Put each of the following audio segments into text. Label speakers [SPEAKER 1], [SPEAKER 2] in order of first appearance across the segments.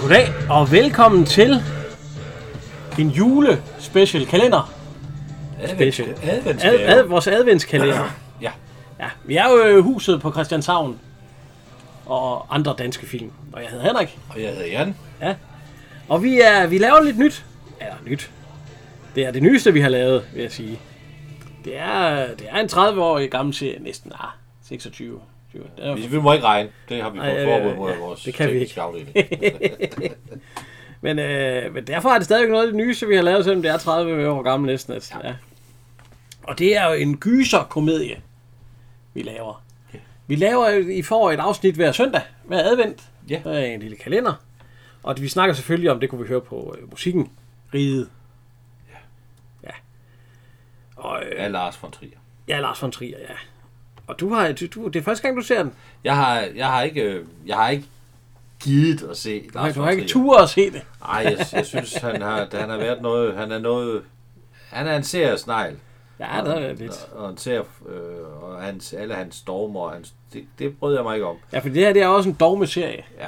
[SPEAKER 1] Goddag og velkommen til en julespecial kalender. Special. Ad,
[SPEAKER 2] Adventsgave.
[SPEAKER 1] ad,
[SPEAKER 2] Adventsgave.
[SPEAKER 1] vores adventskalender.
[SPEAKER 2] Ja.
[SPEAKER 1] Ja, vi er jo øh, huset på Christianshavn og andre danske film. Og jeg hedder Henrik.
[SPEAKER 2] Og jeg hedder Jan.
[SPEAKER 1] Og vi, er, vi laver lidt nyt. Eller nyt. Det er det nyeste, vi har lavet, vil jeg sige. Det er, det er en 30-årig gammel serie. Næsten, ah, 26. 20. Den er
[SPEAKER 2] Vi, vi må ikke regne. Det har vi
[SPEAKER 1] Ej,
[SPEAKER 2] fået
[SPEAKER 1] øh,
[SPEAKER 2] forbud mod
[SPEAKER 1] ja,
[SPEAKER 2] af vores
[SPEAKER 1] det kan vi
[SPEAKER 2] tekniske afdeling.
[SPEAKER 1] Men, øh, men derfor er det stadigvæk noget af det nyeste, vi har lavet, selvom det er 30 år gammel næsten. Altså. Ja. Og det er jo en gyserkomedie, vi laver. Vi laver, jo- I får et afsnit hver søndag, hver advent,
[SPEAKER 2] Ja.
[SPEAKER 1] Der er en lille kalender. Og vi snakker selvfølgelig om, det kunne vi høre på øh, musikken, Riget. Ja. Og øh,
[SPEAKER 2] Ja, Lars von Trier.
[SPEAKER 1] ja, Lars von Trier, ja. Og du har, du, du, det er første gang, du ser den.
[SPEAKER 2] Jeg har, jeg har ikke, øh, jeg har ikke givet at se Lars
[SPEAKER 1] Nej, du
[SPEAKER 2] von
[SPEAKER 1] har ikke
[SPEAKER 2] Trier.
[SPEAKER 1] tur at se det.
[SPEAKER 2] Nej, jeg, jeg synes, han har, han har været noget, han er noget, han er en seriesnegl.
[SPEAKER 1] Ja, der er lidt.
[SPEAKER 2] Og en serie, øh, og hans, alle hans stormer, og hans, det, det brød jeg mig ikke om.
[SPEAKER 1] Ja, for det her det er også en dogmeserie.
[SPEAKER 2] Ja.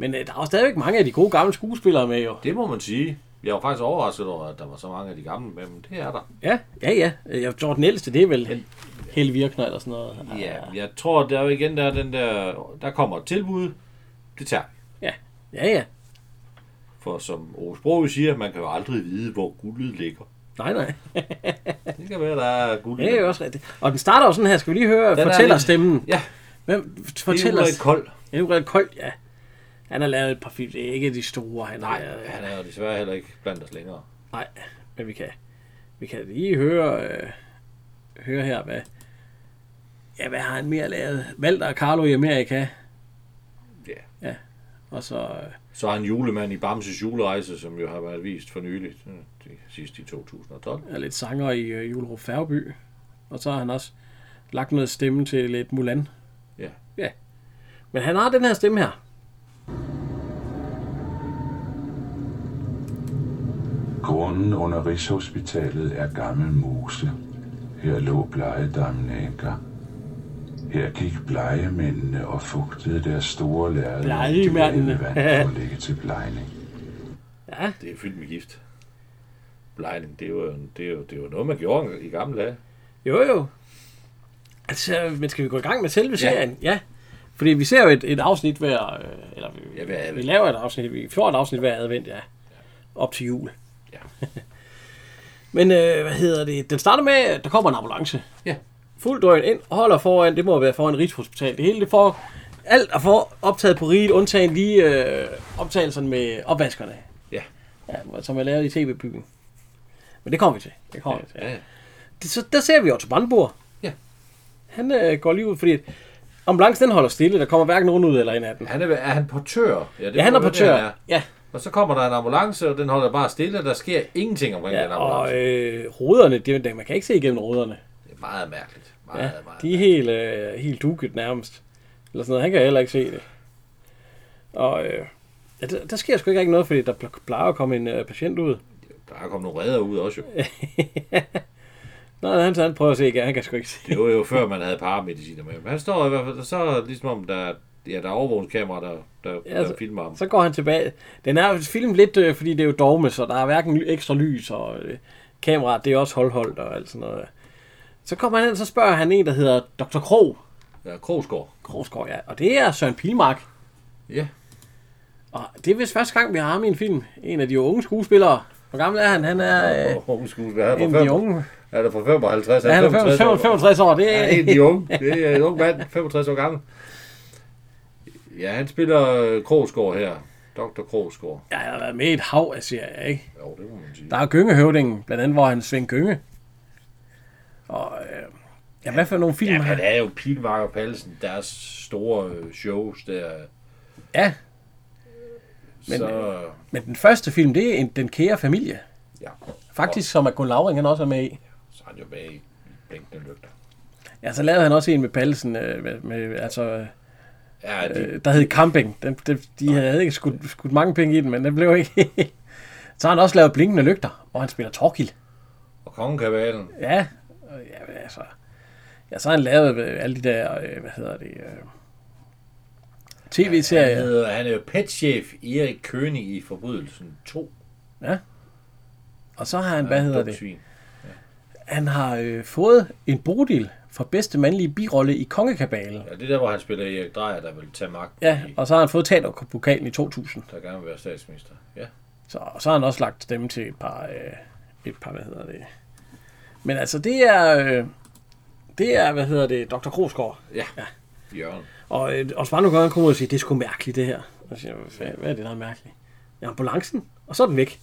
[SPEAKER 1] Men øh, der er jo stadigvæk mange af de gode gamle skuespillere med jo.
[SPEAKER 2] Det må man sige. Jeg var faktisk overrasket over, at der var så mange af de gamle med, men det er der.
[SPEAKER 1] Ja, ja, ja. Øh, Jeg tror, den ældste, det er vel Helle Virkner eller sådan noget.
[SPEAKER 2] Ja, jeg tror, der er jo igen, der er den der, der kommer et tilbud, det tager vi.
[SPEAKER 1] Ja, ja, ja.
[SPEAKER 2] For som Ove Sprogøe siger, man kan jo aldrig vide, hvor guldet ligger.
[SPEAKER 1] Nej, nej.
[SPEAKER 2] Det kan være, der er guld.
[SPEAKER 1] Det er jo også rigtigt. Og den starter jo sådan her. Skal vi lige høre
[SPEAKER 2] er
[SPEAKER 1] fortællerstemmen?
[SPEAKER 2] Ja,
[SPEAKER 1] Hvem
[SPEAKER 2] det er
[SPEAKER 1] fortæller
[SPEAKER 2] jo lidt kold.
[SPEAKER 1] Det er jo ret koldt, ja. Han har lavet et par film. Det er ikke de store, han
[SPEAKER 2] Nej,
[SPEAKER 1] har lavet.
[SPEAKER 2] han er jo desværre heller ikke blandt os længere.
[SPEAKER 1] Nej, men vi kan, vi kan lige høre, øh, høre her, hvad, ja, hvad har han mere lavet? Walter og Carlo i Amerika.
[SPEAKER 2] Ja.
[SPEAKER 1] Ja, og så... Øh,
[SPEAKER 2] Så har han julemand i Bamses julerejse, som jo har været vist for nyligt, øh, det sidste i 2012.
[SPEAKER 1] er lidt sanger i øh, Julerup Færgeby. Og så har han også lagt noget stemme til lidt Mulan.
[SPEAKER 2] Ja.
[SPEAKER 1] Ja. Men han har den her stemme her.
[SPEAKER 3] Grunden under Rigshospitalet er gammel mose. Her lå blegedammen engang. Her gik blegemændene og fugtede deres store lærred.
[SPEAKER 1] Blegemændene.
[SPEAKER 3] med vand for at ligge til blegning.
[SPEAKER 1] Ja,
[SPEAKER 2] Det er fyldt med gift. Blejning, det er jo, det er jo, det er jo noget, man gjorde i gamle dage.
[SPEAKER 1] jo jo. Altså, men skal vi gå i gang med selve serien? Ja. Fordi vi ser jo et, et afsnit hver... Øh, eller vi,
[SPEAKER 2] Ja, hver advent.
[SPEAKER 1] vi laver et afsnit. Vi får et afsnit hver advent, ja. Op til jul.
[SPEAKER 2] Ja.
[SPEAKER 1] men øh, hvad hedder det? Den starter med, at der kommer en ambulance.
[SPEAKER 2] Ja.
[SPEAKER 1] Fuld drøn ind, holder foran, det må være foran Rigshospital. Det hele, det får, alt er for optaget på riget, undtagen lige øh, optagelserne med opvaskerne,
[SPEAKER 2] Ja.
[SPEAKER 1] ja, som er lavet i tv-byen. Men det kommer vi til. Det kommer ja. vi til.
[SPEAKER 2] Ja, ja.
[SPEAKER 1] Det, så, der ser vi Otto Brandenburg.
[SPEAKER 2] Ja.
[SPEAKER 1] Han øh, går lige ud, fordi at ambulancen den holder stille, der kommer hverken nogen ud eller ind af den.
[SPEAKER 2] Han er, er han portør? det
[SPEAKER 1] Ja, han
[SPEAKER 2] må
[SPEAKER 1] er
[SPEAKER 2] være,
[SPEAKER 1] på
[SPEAKER 2] det, han
[SPEAKER 1] tør. Ja,
[SPEAKER 2] Og så kommer der en ambulance, og den holder bare stille, og der sker ingenting omkring ja, den
[SPEAKER 1] ja
[SPEAKER 2] ambulance.
[SPEAKER 1] og øh, ruderne, det, det, man kan ikke se igennem ruderne.
[SPEAKER 2] Det er meget mærkeligt. Meget,
[SPEAKER 1] Ja,
[SPEAKER 2] meget.
[SPEAKER 1] de er helt, øh, helt duket nærmest. Eller sådan noget. Han kan heller ikke se det. Og øh, ja, der, der sker sgu ikke rigtig noget, fordi der pl- plejer at komme en øh, patient ud.
[SPEAKER 2] Der er kommet nogle redder ud også jo.
[SPEAKER 1] Nå, han, han prøver at se igen. Han kan sgu ikke se.
[SPEAKER 2] Det var jo før, man havde paramediciner med. Men han står i hvert fald, så er det ligesom om, der, er- ja, der er overvågningskamera, der, der,
[SPEAKER 1] Ja, altså-
[SPEAKER 2] der filmer ham.
[SPEAKER 1] Så går han tilbage. Den er jo filmet lidt, øh, fordi det er jo dogme, så der er hverken ly- ekstra lys, og øh, kameraet det er også holdholdt og alt sådan noget. Så kommer han hen, så spørger han en, der hedder Dr. Krog.
[SPEAKER 2] Ja, Krogsgaard.
[SPEAKER 1] Krogsgaard, ja. Og det er Søren Pilmark.
[SPEAKER 2] Ja.
[SPEAKER 1] Og det er vist første gang, vi har ham i en film. En af de unge skuespillere. Hvor gammel er han? Han er øh,
[SPEAKER 2] Og Aarhus Skuespil. Han
[SPEAKER 1] en af de
[SPEAKER 2] er fra
[SPEAKER 1] unge.
[SPEAKER 2] 55. Han er fra 55.
[SPEAKER 1] Ja, han er
[SPEAKER 2] 65 år.
[SPEAKER 1] 55, 65 år. Det
[SPEAKER 2] Ja,
[SPEAKER 1] er,
[SPEAKER 2] en af de unge. Det er en ung mand, 65 år gammel. Ja, han spiller øh, Krogsgaard her. Dr. Krogsgaard.
[SPEAKER 1] jeg har været med i et hav af serier, ikke?
[SPEAKER 2] Jo, det må man sige.
[SPEAKER 1] Der er Gyngehøvdingen, blandt andet, hvor han Svend Gynge. Og øh, ja, hvad for nogle film
[SPEAKER 2] Ja,
[SPEAKER 1] har
[SPEAKER 2] han er jo Pilmark og Pallesen, deres store øh, shows der.
[SPEAKER 1] Ja,
[SPEAKER 2] Men, så,
[SPEAKER 1] men den første film, det er en, Den Kære Familie.
[SPEAKER 2] ja,
[SPEAKER 1] Faktisk, som at Gunn Lauring, han også er med i.
[SPEAKER 2] så er han jo med i blinkende lygter.
[SPEAKER 1] Ja, så lavede han også en med Pallesen, øh, med, med, altså,
[SPEAKER 2] Ja, de,
[SPEAKER 1] øh, der hed Camping. Den, de, de havde ikke skudt, skudt mange penge i den, men den blev ikke... så har han også lavet Blinkende Lygter, hvor han spiller Torkil.
[SPEAKER 2] og kongekabalen.
[SPEAKER 1] Ja, og ja, men altså... Ja, så har han lavet øh, alle de der, øh, hvad hedder det, øh,
[SPEAKER 2] Han,
[SPEAKER 1] TV-serie.
[SPEAKER 2] hedder, han er jo petchef Erik Kønig i Forbrydelsen 2.
[SPEAKER 1] Og så har han, hvad hedder det?
[SPEAKER 2] Svin.
[SPEAKER 1] Han har øh, fået en bodil for bedste mandlige birolle i Kongekabalen.
[SPEAKER 2] Ja, det er der, hvor han spiller Erik Drejer, der vil tage magten,
[SPEAKER 1] Ja,
[SPEAKER 2] i,
[SPEAKER 1] og så har han fået teaterpokalen i 2000.
[SPEAKER 2] der gerne vil være statsminister. Ja.
[SPEAKER 1] Så, og så har han også lagt stemme til et par, øh, et par hvad hedder det. Men altså, det er, øh, det er, hvad hedder det, Dr. Krogsgaard.
[SPEAKER 2] Ja. ja. Jørgen.
[SPEAKER 1] Og, øh, og Svando Gørgen kommer og siger, det er sgu mærkeligt, det her. Og jeg siger, hvad, hvad er det, der er mærkeligt? Ja, ambulancen. Og så er den væk.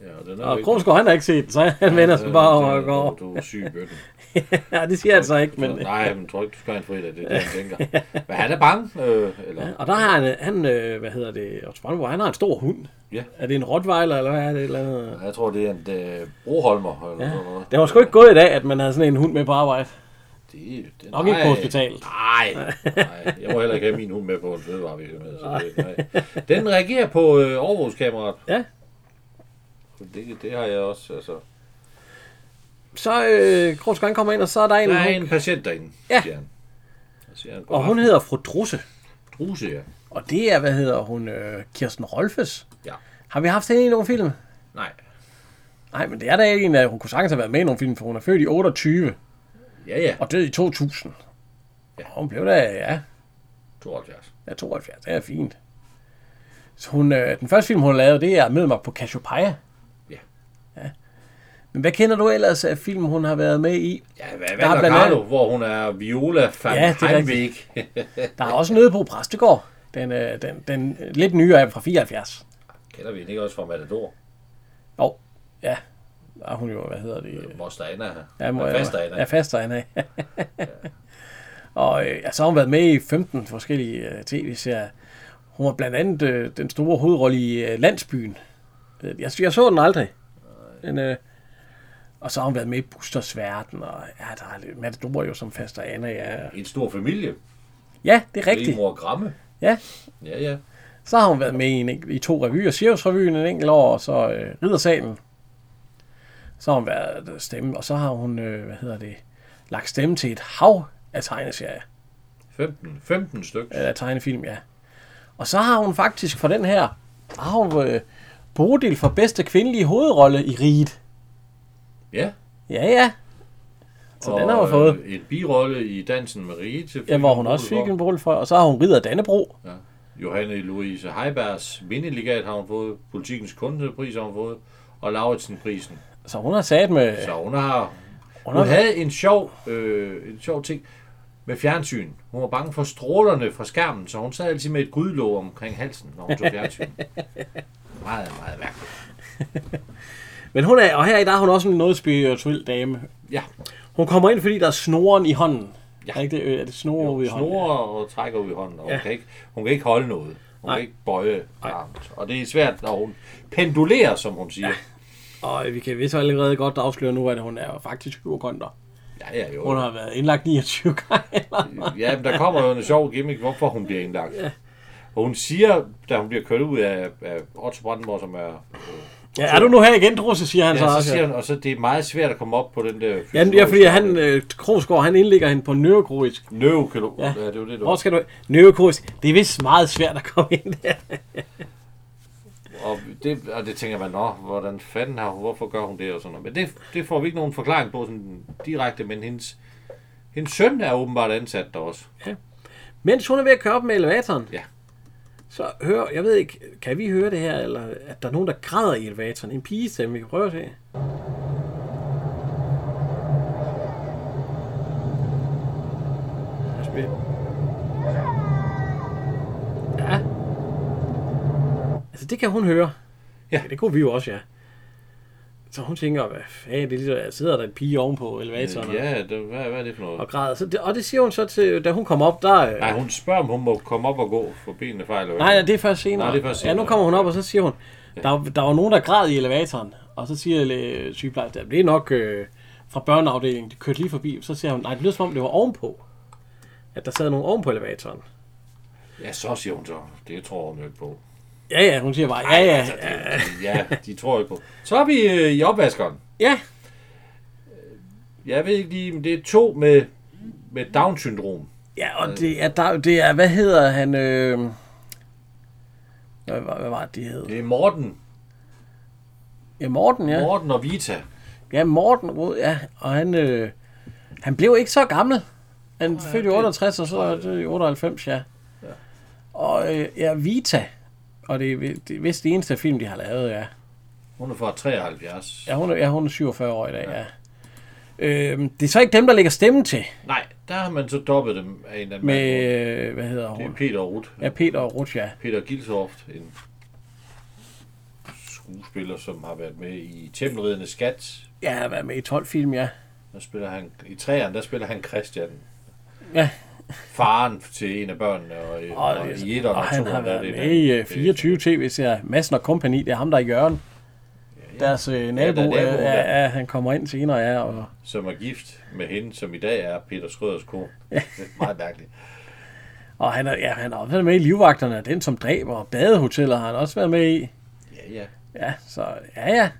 [SPEAKER 2] Ja, og den er
[SPEAKER 1] Og Krogsgaard, han har ikke set den, så han vender sig bare om og går over.
[SPEAKER 2] Du er syg, bøkken.
[SPEAKER 1] Ja, det siger han så ikke, men...
[SPEAKER 2] Men, Nej, men tror ikke, du skal have en fredag, det er det, han tænker. Men han er bange, øh, eller...
[SPEAKER 1] Ja, og der har han, øh, han øh, hvad hedder det, Otto Brandenburg, han har en stor hund.
[SPEAKER 2] Ja.
[SPEAKER 1] Er det en rottweiler, eller hvad er det? et Eller andet?
[SPEAKER 2] Jeg tror, det er en øh, broholmer, eller
[SPEAKER 1] Ja.
[SPEAKER 2] sådan noget.
[SPEAKER 1] Det var sgu ikke gået i dag, at man havde sådan en hund med på arbejde.
[SPEAKER 2] Det, det,
[SPEAKER 1] Nok ikke på hospitalet.
[SPEAKER 2] Nej, nej. Jeg må heller ikke have min hund med på en fødevarevirksomhed. Så det, nej. Den reagerer på øh, overvågskameraet.
[SPEAKER 1] Ja.
[SPEAKER 2] Det, det har jeg også, altså.
[SPEAKER 1] Så øh, Krogsgang kommer ind, og så er der en,
[SPEAKER 2] Der er
[SPEAKER 1] hun,
[SPEAKER 2] en patient derinde,
[SPEAKER 1] Ja.
[SPEAKER 2] siger han. Så siger han,
[SPEAKER 1] og hun hedder Fru Drusse.
[SPEAKER 2] Druse, ja.
[SPEAKER 1] Og det er, hvad hedder hun, øh, Kirsten Rolfes.
[SPEAKER 2] Ja.
[SPEAKER 1] Har vi haft hende i nogle film?
[SPEAKER 2] Nej.
[SPEAKER 1] Nej, men det er da ikke en, af- hun kunne sagtens have været med i nogle film, for hun er født i 28
[SPEAKER 2] Ja, ja.
[SPEAKER 1] og død i 2000. Ja.
[SPEAKER 2] Ja.
[SPEAKER 1] Og hun blev da, ja,
[SPEAKER 2] 72.
[SPEAKER 1] ja 72, det er fint. Så hun, øh, den første film, hun lavede, det er Mød mig på Cassiopeia.
[SPEAKER 2] Ja.
[SPEAKER 1] ja. Men hvad kender du ellers af film, hun har været med i?
[SPEAKER 2] Ja, hvad,
[SPEAKER 1] Der er
[SPEAKER 2] hvad
[SPEAKER 1] blandt
[SPEAKER 2] Carlo, hvor hun er Viola van
[SPEAKER 1] Ja,
[SPEAKER 2] ja,
[SPEAKER 1] det er
[SPEAKER 2] Heimweg.
[SPEAKER 1] Der er også Nødebo Præstegård. Den, øh, den, den lidt nyere af dem fra 74.
[SPEAKER 2] Kender vi den ikke også fra Matador?
[SPEAKER 1] Jo, ja. Der er hun jo, hvad hedder det?
[SPEAKER 2] Moster Anna.
[SPEAKER 1] Ja, må jeg,
[SPEAKER 2] fast Anna.
[SPEAKER 1] Ja, faster Anna. og øh, ja, så har hun været med i 15 forskellige øh, tv-serier. Hun var blandt andet øh, den store hovedrolle i øh, Landsbyen. Øh, Jeg, jeg så den aldrig. Men, øh, og så har hun været med i Busters Verden, og ja, der er lidt Matador jo som faster Anna. Ja.
[SPEAKER 2] En stor familie.
[SPEAKER 1] ja, det er
[SPEAKER 2] Rigtigt.
[SPEAKER 1] rigtigt.
[SPEAKER 2] mor Gramme.
[SPEAKER 1] Ja,
[SPEAKER 2] Ja, ja.
[SPEAKER 1] Så har hun været med i, en, enkel- i to revyer, Cirkusrevyen en enkelt år, og så øh, Riddersalen. Så har hun været øh, stemme, og så har hun, øh, hvad hedder det, lagt stemme til et hav af tegneserier,
[SPEAKER 2] 15, 15 stykker.
[SPEAKER 1] eller tegnefilm, ja. Og så har hun faktisk for den her, der har hun øh, Bodil for bedste kvindelige hovedrolle i Riget.
[SPEAKER 2] Ja.
[SPEAKER 1] Ja, ja. Så den har hun
[SPEAKER 2] øh,
[SPEAKER 1] fået.
[SPEAKER 2] En birolle i Dansen med Rige til
[SPEAKER 1] Ja, hvor hun også fik en Bodil for, og så har hun Ridder Dannebro.
[SPEAKER 2] Ja. Johanne Louise Heibergs vindeligat har hun fået, Politikens kundepris har hun fået, og Lauritsen-prisen.
[SPEAKER 1] Så hun har sat med...
[SPEAKER 2] Så hun har...
[SPEAKER 1] Hun
[SPEAKER 2] Hun,
[SPEAKER 1] har-
[SPEAKER 2] havde en sjov, øh, en sjov ting med fjernsyn. Hun var bange for strålerne fra skærmen, så hun sad altid med et grydelåg omkring halsen, når hun tog fjernsyn. meget, meget mærkeligt.
[SPEAKER 1] Men hun er, og her i dag er hun også en noget spirituel dame.
[SPEAKER 2] Ja,
[SPEAKER 1] Hun kommer ind, fordi der er snoren i hånden. Ja.
[SPEAKER 2] Ja.
[SPEAKER 1] Er ikke det, Øh, er det snore jo, i
[SPEAKER 2] hun
[SPEAKER 1] hånden?
[SPEAKER 2] snorer og trækker ud i hånden, og hun,
[SPEAKER 1] Ja.
[SPEAKER 2] kan ikke, hun kan ikke holde noget. Hun
[SPEAKER 1] Nej.
[SPEAKER 2] kan ikke bøje armt. Og det er svært, når hun pendulerer, som hun siger.
[SPEAKER 1] Og vi kan vist allerede godt afsløre nu, at hun er jo faktisk hypokonter.
[SPEAKER 2] Ja, ja, jo.
[SPEAKER 1] Hun har været indlagt 29 gange. eller-
[SPEAKER 2] Ja, men der kommer jo en sjov gimmick, hvorfor hun bliver indlagt. Og hun siger, da hun bliver kørt ud af, af Otto Brandenborg, som er...
[SPEAKER 1] ja, er du nu her igen, Drusse, siger han så
[SPEAKER 2] Ja, så
[SPEAKER 1] også.
[SPEAKER 2] siger
[SPEAKER 1] Ja.
[SPEAKER 2] han, og så det er meget svært at komme op på den der...
[SPEAKER 1] Ja, ja, fordi han, øh, Krogsgaard, han indlægger hende på neurokoisk.
[SPEAKER 2] Nøvekolo.
[SPEAKER 1] Ja.
[SPEAKER 2] Ja. ja, det var det, du
[SPEAKER 1] Hvor skal du... Neurokoisk. Det er vist meget svært at komme ind der.
[SPEAKER 2] og det, og det tænker man, nå, hvordan fanden har hun, hvorfor gør hun det og sådan noget. Men det, det får vi ikke nogen forklaring på sådan direkte, men hendes, hendes søn er åbenbart ansat der også.
[SPEAKER 1] Mens hun er ved at køre op med elevatoren,
[SPEAKER 2] Ja.
[SPEAKER 1] så hører... Jeg ved ikke, kan vi høre det her, eller at der er nogen, der græder i elevatoren? En pigestemme, vi kan prøve at se. Lad os se. Ja. Altså, det kan hun høre.
[SPEAKER 2] Ja.
[SPEAKER 1] Det kunne vi jo også, ja. Så hun tænker, hvad fanden, det er lige, der sidder der en pige ovenpå elevatoren ja.
[SPEAKER 2] Ja, det, hvad, hvad er det for noget?
[SPEAKER 1] og græder. Så det, og det siger hun så til, da hun kommer op, der... øh,
[SPEAKER 2] Nej, hun spørger, om hun må komme op og gå, for benene fejler. jo
[SPEAKER 1] Nej, nej,
[SPEAKER 2] ikke.
[SPEAKER 1] det er først senere.
[SPEAKER 2] Nej, det er først
[SPEAKER 1] Ja, nu
[SPEAKER 2] senere.
[SPEAKER 1] kommer hun op, og så siger hun, der, der var nogen, der græd i elevatoren. Og så siger øh, sygeplejersken, "Jamen, det er nok øh, fra børneafdelingen, det kørte lige forbi. Så siger hun, nej, det lyder som om, det var ovenpå. At der sad nogen ovenpå elevatoren.
[SPEAKER 2] Ja, så siger hun så. Det tror hun jo ikke på.
[SPEAKER 1] Ja, ja, hun siger bare, ja, ja,
[SPEAKER 2] Altså,
[SPEAKER 1] ja.
[SPEAKER 2] det, ja, de tror ikke på. Så er vi øh, i opvaskeren.
[SPEAKER 1] ja.
[SPEAKER 2] Jeg ved ikke lige, men det er to med, med Down-syndrom.
[SPEAKER 1] Ja, og det er, der, det er hvad hedder han? Øh... Hvad, var- hvad var det, de hed?
[SPEAKER 2] Det er Morten.
[SPEAKER 1] Ja, Morten, ja.
[SPEAKER 2] Morten og Vita.
[SPEAKER 1] Ja, Morten Rud, ja. Og han, øh, han blev ikke så gammel. Han oh, fødte i
[SPEAKER 2] det-
[SPEAKER 1] 68, og så er det i 98, ja. Og øh, ja, Vita. Og det er, vi- det er vist det eneste film, de har lavet, ja.
[SPEAKER 2] Hun er fra 73.
[SPEAKER 1] Ja, hun er, ja, hun er 47 år i dag, ja. Øhm, det er så ikke dem, der lægger stemmen til
[SPEAKER 2] Nej, der har man så dobbet dem af en eller anden
[SPEAKER 1] med,
[SPEAKER 2] mand.
[SPEAKER 1] øh, hvad hedder
[SPEAKER 2] Det er
[SPEAKER 1] hun?
[SPEAKER 2] Peter Ruth.
[SPEAKER 1] Ja, Peter og Ruth, ja.
[SPEAKER 2] Peter Gilsoft, en skuespiller, som har været med i Tempelridende Skat.
[SPEAKER 1] Ja, har været med i 12 film, ja.
[SPEAKER 2] Der spiller han, I træerne, der spiller han Christian.
[SPEAKER 1] Ja.
[SPEAKER 2] Faren til en af børnene, og, i-
[SPEAKER 1] Og,
[SPEAKER 2] og, i et og,
[SPEAKER 1] og han har
[SPEAKER 2] toeren, der er
[SPEAKER 1] været
[SPEAKER 2] det
[SPEAKER 1] med
[SPEAKER 2] en
[SPEAKER 1] i
[SPEAKER 2] anden.
[SPEAKER 1] øh, 24 tv-serier. Madsen og Kompani, det er ham, der er Jørgen. Ja, Deres øh, nabo,
[SPEAKER 2] naboen,
[SPEAKER 1] ja, ja,
[SPEAKER 2] ja.
[SPEAKER 1] ja. han kommer ind senere, ja. Og,
[SPEAKER 2] Som er gift med hende, som i dag er Peter Skrøders kone. Det er meget mærkeligt.
[SPEAKER 1] og han, er, ja, han har også været med i Livvagterne, den som dræber, og badehoteller har han også været med i.
[SPEAKER 2] Ja, ja.
[SPEAKER 1] Ja, så ja, ja.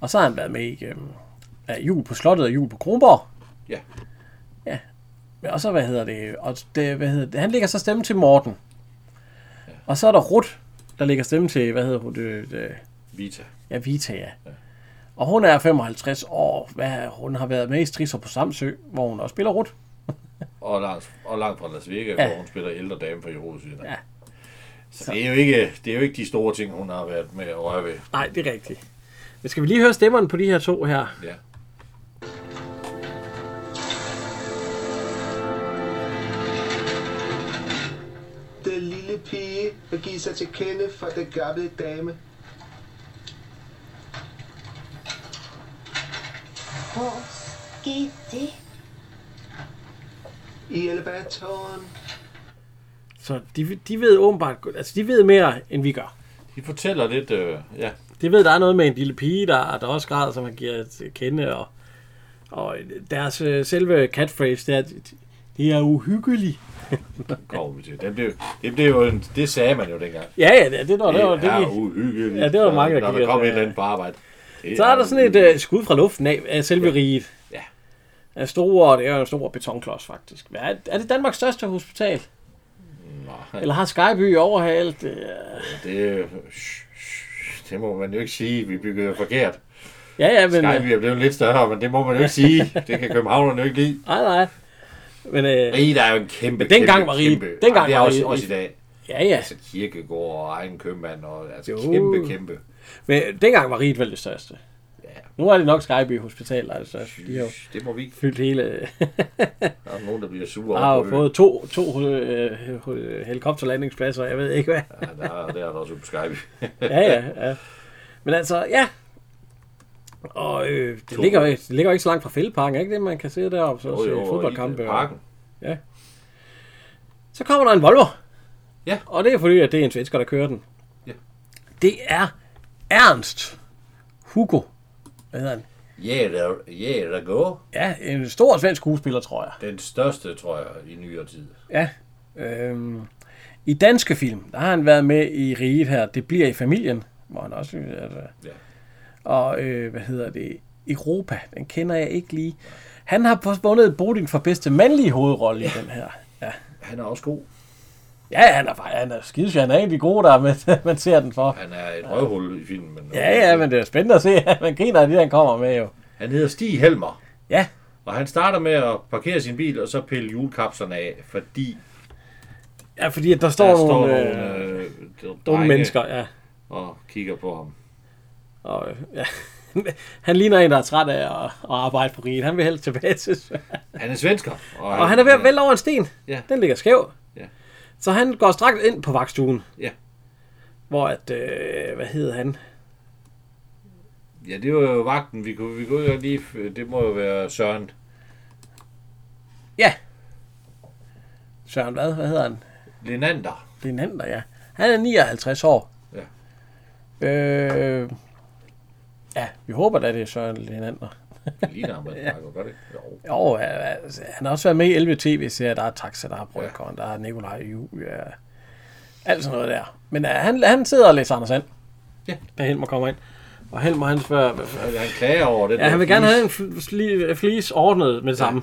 [SPEAKER 1] Og så har han været med i øh, ja, Jul på Slottet og Jul på Kronborg.
[SPEAKER 2] Ja.
[SPEAKER 1] Ja. Men også, hvad hedder det? Og det, hvad hedder det? Han lægger så stemme til Morten. Ja. Og så er der Rut, der lægger stemme til, hvad hedder hun? øh, Det, det,
[SPEAKER 2] Vita.
[SPEAKER 1] Ja, Vita, ja. Og hun er 55 år. Hvad, hun har været med i Strisser på Samsø, hvor hun også spiller rut.
[SPEAKER 2] Og langt, og langt fra Las Vegas, ja.
[SPEAKER 1] Ja.
[SPEAKER 2] hvor hun spiller ældre dame fra Jerusalem.
[SPEAKER 1] Ja.
[SPEAKER 2] Så, Det, er jo ikke, det er jo ikke de store ting, hun har været med at røre ved.
[SPEAKER 1] Nej, det er rigtigt. Men skal vi lige høre stemmerne på de her to her?
[SPEAKER 2] Ja.
[SPEAKER 4] Den lille pige vil give sig til kende for den gamle dame.
[SPEAKER 5] Hvor skete det?
[SPEAKER 4] I elevatoren.
[SPEAKER 1] Så de, de ved åbenbart... godt- Altså, de ved mere, end vi gør.
[SPEAKER 2] De fortæller lidt, øh, ja,
[SPEAKER 1] De ved, der er noget med en lille pige, der, der også græder, som han giver til kende. Og, og deres øh, selve catphrase, det er, at de er uhyggelige.
[SPEAKER 2] kommer vi til. Den blev, det, blev jo en, det sagde man jo dengang.
[SPEAKER 1] Ja, ja, det, det, var, det, var, det,
[SPEAKER 2] er
[SPEAKER 1] det,
[SPEAKER 2] uhyggeligt.
[SPEAKER 1] Ja, det var mange, der
[SPEAKER 2] Når der
[SPEAKER 1] kiggede
[SPEAKER 2] kom
[SPEAKER 1] på det,
[SPEAKER 2] et eller
[SPEAKER 1] ja.
[SPEAKER 2] andet på arbejde. Det
[SPEAKER 1] Så er der sådan et øh, skud fra luften af, af selve ja. riget.
[SPEAKER 2] Ja.
[SPEAKER 1] Af store, det er jo en stor betonklods faktisk. Hvad Er, er det Danmarks største hospital?
[SPEAKER 2] Nej,
[SPEAKER 1] Eller har Skyby overhalet? det?
[SPEAKER 2] det, shh, shh, det må man jo ikke sige. Vi byggede jo forkert.
[SPEAKER 1] Ja, ja, men...
[SPEAKER 2] Nej,
[SPEAKER 1] øh,
[SPEAKER 2] vi er blevet lidt større, men det må man jo ikke sige. Det kan københavnerne jo ikke lide.
[SPEAKER 1] Nej, nej. Men øh,
[SPEAKER 2] Riget er jo en kæmpe,
[SPEAKER 1] Men dengang
[SPEAKER 2] kæmpe,
[SPEAKER 1] var riget-
[SPEAKER 2] kæmpe.
[SPEAKER 1] dengang
[SPEAKER 2] Ej, det er
[SPEAKER 1] var
[SPEAKER 2] også,
[SPEAKER 1] riget-
[SPEAKER 2] også i dag.
[SPEAKER 1] ja, ja.
[SPEAKER 2] Altså kirkegård og egen købmand og altså
[SPEAKER 1] Jo.
[SPEAKER 2] kæmpe, kæmpe.
[SPEAKER 1] Men dengang var riget vel det største.
[SPEAKER 2] Ja.
[SPEAKER 1] Nu er det nok Skyby Hospital, der er det største. De har jo
[SPEAKER 2] Det må vi ikke.
[SPEAKER 1] fyldt hele...
[SPEAKER 2] Der er nogen, der bliver sure
[SPEAKER 1] har
[SPEAKER 2] over
[SPEAKER 1] jo
[SPEAKER 2] på øen.
[SPEAKER 1] fået to, to øh, øh, helikopterlandingspladser, jeg ved ikke hvad.
[SPEAKER 2] Ja, der, er- der er der også på Skype.
[SPEAKER 1] Ja, ja, ja. Men altså, ja. Og øh, det, ligger, jo- det ligger jo ikke så langt fra fældeparken, ikke det, man kan se deroppe, så jo, jo, se fodboldkampe.
[SPEAKER 2] i øh,
[SPEAKER 1] og-
[SPEAKER 2] Parken.
[SPEAKER 1] Så kommer der en Volvo.
[SPEAKER 2] Ja.
[SPEAKER 1] Og det er fordi, at det er en svensker, der kører den.
[SPEAKER 2] Ja.
[SPEAKER 1] Det er Ernst Hugo. Hvad hedder han?
[SPEAKER 2] Ja, der, ja, der går.
[SPEAKER 1] Ja, en stor svensk skuespiller, tror jeg.
[SPEAKER 2] Den største, tror jeg, i nyere tid.
[SPEAKER 1] Ja. Øhm, I danske film, der har han været med i Riget her. Det bliver i familien, hvor han også... Altså,
[SPEAKER 2] Ja.
[SPEAKER 1] og øh, hvad hedder det? Europa, den kender jeg ikke lige. Han har vundet Bodil for bedste mandlige hovedrolle ja. i den her. Ja.
[SPEAKER 2] Han er også god.
[SPEAKER 1] Ja, han er, fa- han er skidesjov. Han er egentlig god der, men man ser den for.
[SPEAKER 2] Han er et røvhul i filmen. Men
[SPEAKER 1] Ja, ja, men det er spændende at se. Man griner af det, han kommer med jo.
[SPEAKER 2] Han hedder Stig Helmer.
[SPEAKER 1] Ja,
[SPEAKER 2] Og han starter med at parkere sin bil, og så pille julekapslerne af, fordi
[SPEAKER 1] ja fordi at der står
[SPEAKER 2] der
[SPEAKER 1] nogle,
[SPEAKER 2] står
[SPEAKER 1] øh,
[SPEAKER 2] nogle, øh,
[SPEAKER 1] dumme
[SPEAKER 2] drenge
[SPEAKER 1] mennesker. Ja.
[SPEAKER 2] og kigger på ham.
[SPEAKER 1] Og, øh, ja. Han ligner en, der er træt af at, at arbejde på riget. Han vil helst tilbage til Sverige.
[SPEAKER 2] Han er svensker.
[SPEAKER 1] Og han er ved at vælge over en sten.
[SPEAKER 2] Ja.
[SPEAKER 1] Den ligger skæv.
[SPEAKER 2] Ja.
[SPEAKER 1] Så han går straks ind på vagtstuen.
[SPEAKER 2] Ja.
[SPEAKER 1] Hvor at, øh, hvad hedder han?
[SPEAKER 2] Ja, det var jo vagten. Vi kunne, vi kunne jo lige... Det må jo være Søren.
[SPEAKER 1] Ja. Søren hvad? Hvad hedder han?
[SPEAKER 2] Lenander.
[SPEAKER 1] Linander, ja. Han er 59 år.
[SPEAKER 2] Ja.
[SPEAKER 1] Øh, ja, vi håber da, det er Søren Linander.
[SPEAKER 2] Det ligner ham, at snakker, gør det? Jo.
[SPEAKER 1] Jo, altså, han har også været med i 11 tv-serier. Der er Taxa, der er Brødkorn, ja. der er Nikolaj og Julia. Alt sådan noget der. Men uh, han, han sidder og læser Anders Sand.
[SPEAKER 2] Ja.
[SPEAKER 1] Da Helmer kommer ind. Og Helmer han spørger... hvad-
[SPEAKER 2] Han Altså, klager over det.
[SPEAKER 1] Ja, han vil gerne have en flis ordnet med det samme.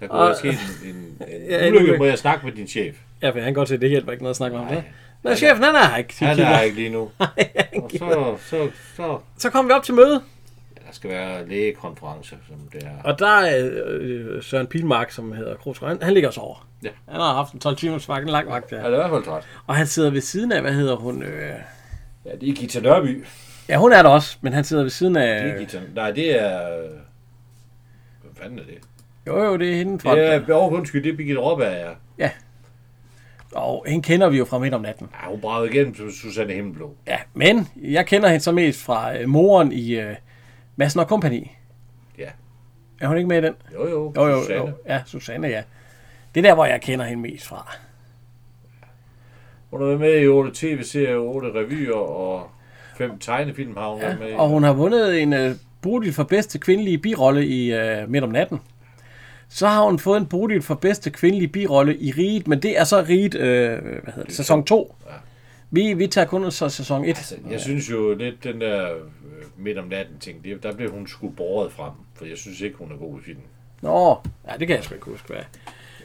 [SPEAKER 2] Der kunne være
[SPEAKER 1] Og-
[SPEAKER 2] sket en, en, en
[SPEAKER 1] Ja, en
[SPEAKER 2] ulykke,
[SPEAKER 1] ulykke.
[SPEAKER 2] må jeg snakke med din chef.
[SPEAKER 1] Ja, for jeg kan godt se, at det hjælper ikke noget at snakke om det.
[SPEAKER 2] Nej.
[SPEAKER 1] Nå, chefen, han er her ikke.
[SPEAKER 2] Han
[SPEAKER 1] Kilder.
[SPEAKER 2] er ikke lige nu. Og så, så, så,
[SPEAKER 1] Så kom vi op til møde,
[SPEAKER 2] ja, der skal være lægekonference, som det er.
[SPEAKER 1] og der er øh, Søren Pilmark, som hedder Kroos, han, han ligger og sover.
[SPEAKER 2] Ja.
[SPEAKER 1] Han har haft en 12 timers vagt, en lang vagt, ja.
[SPEAKER 2] Han er i hvert fald træt.
[SPEAKER 1] Og han sidder ved siden af, hvad hedder hun? Øh...
[SPEAKER 2] Ja, det er Gita Nørby.
[SPEAKER 1] Ja, hun er der også, men han sidder ved siden af...
[SPEAKER 2] Det er Gita. Nej, det er... øh, Hvad fanden er det?
[SPEAKER 1] Jo, jo, det er hende fra...
[SPEAKER 2] Det er, oh, undskyld, det er Birgitte Råberg, ja.
[SPEAKER 1] Og hende kender vi jo fra midt om natten.
[SPEAKER 2] Ja, hun bragede igennem som Susanne Himmelblå.
[SPEAKER 1] Ja, men jeg kender hende så mest fra øh, moren i øh, Madsen og Kompani.
[SPEAKER 2] Ja.
[SPEAKER 1] Er hun ikke med i den?
[SPEAKER 2] Jo, jo,
[SPEAKER 1] Jo, jo,
[SPEAKER 2] Susanne.
[SPEAKER 1] jo. Ja, Susanne, ja. Det er der, hvor jeg kender hende mest fra.
[SPEAKER 2] Hun har været med i 8 tv-serier, 8 revyer og 5 tegnefilm har hun ja, været med i.
[SPEAKER 1] Og hun har vundet en øh, Bodil for bedste kvindelige birolle i øh, Midt om natten. Så har hun fået en Bodil for bedste kvindelige birolle i Riget, men det er så Riget, øh, hvad hedder det, sæson 2.
[SPEAKER 2] Ja.
[SPEAKER 1] Vi, vi tager kun så sæson 1.
[SPEAKER 2] Altså, jeg synes jo lidt, den der øh, midt om natten ting, det, der blev hun sgu båret frem, for jeg synes ikke, hun er god i filmen.
[SPEAKER 1] Nå, ja, det kan jeg sgu ikke huske, hvad.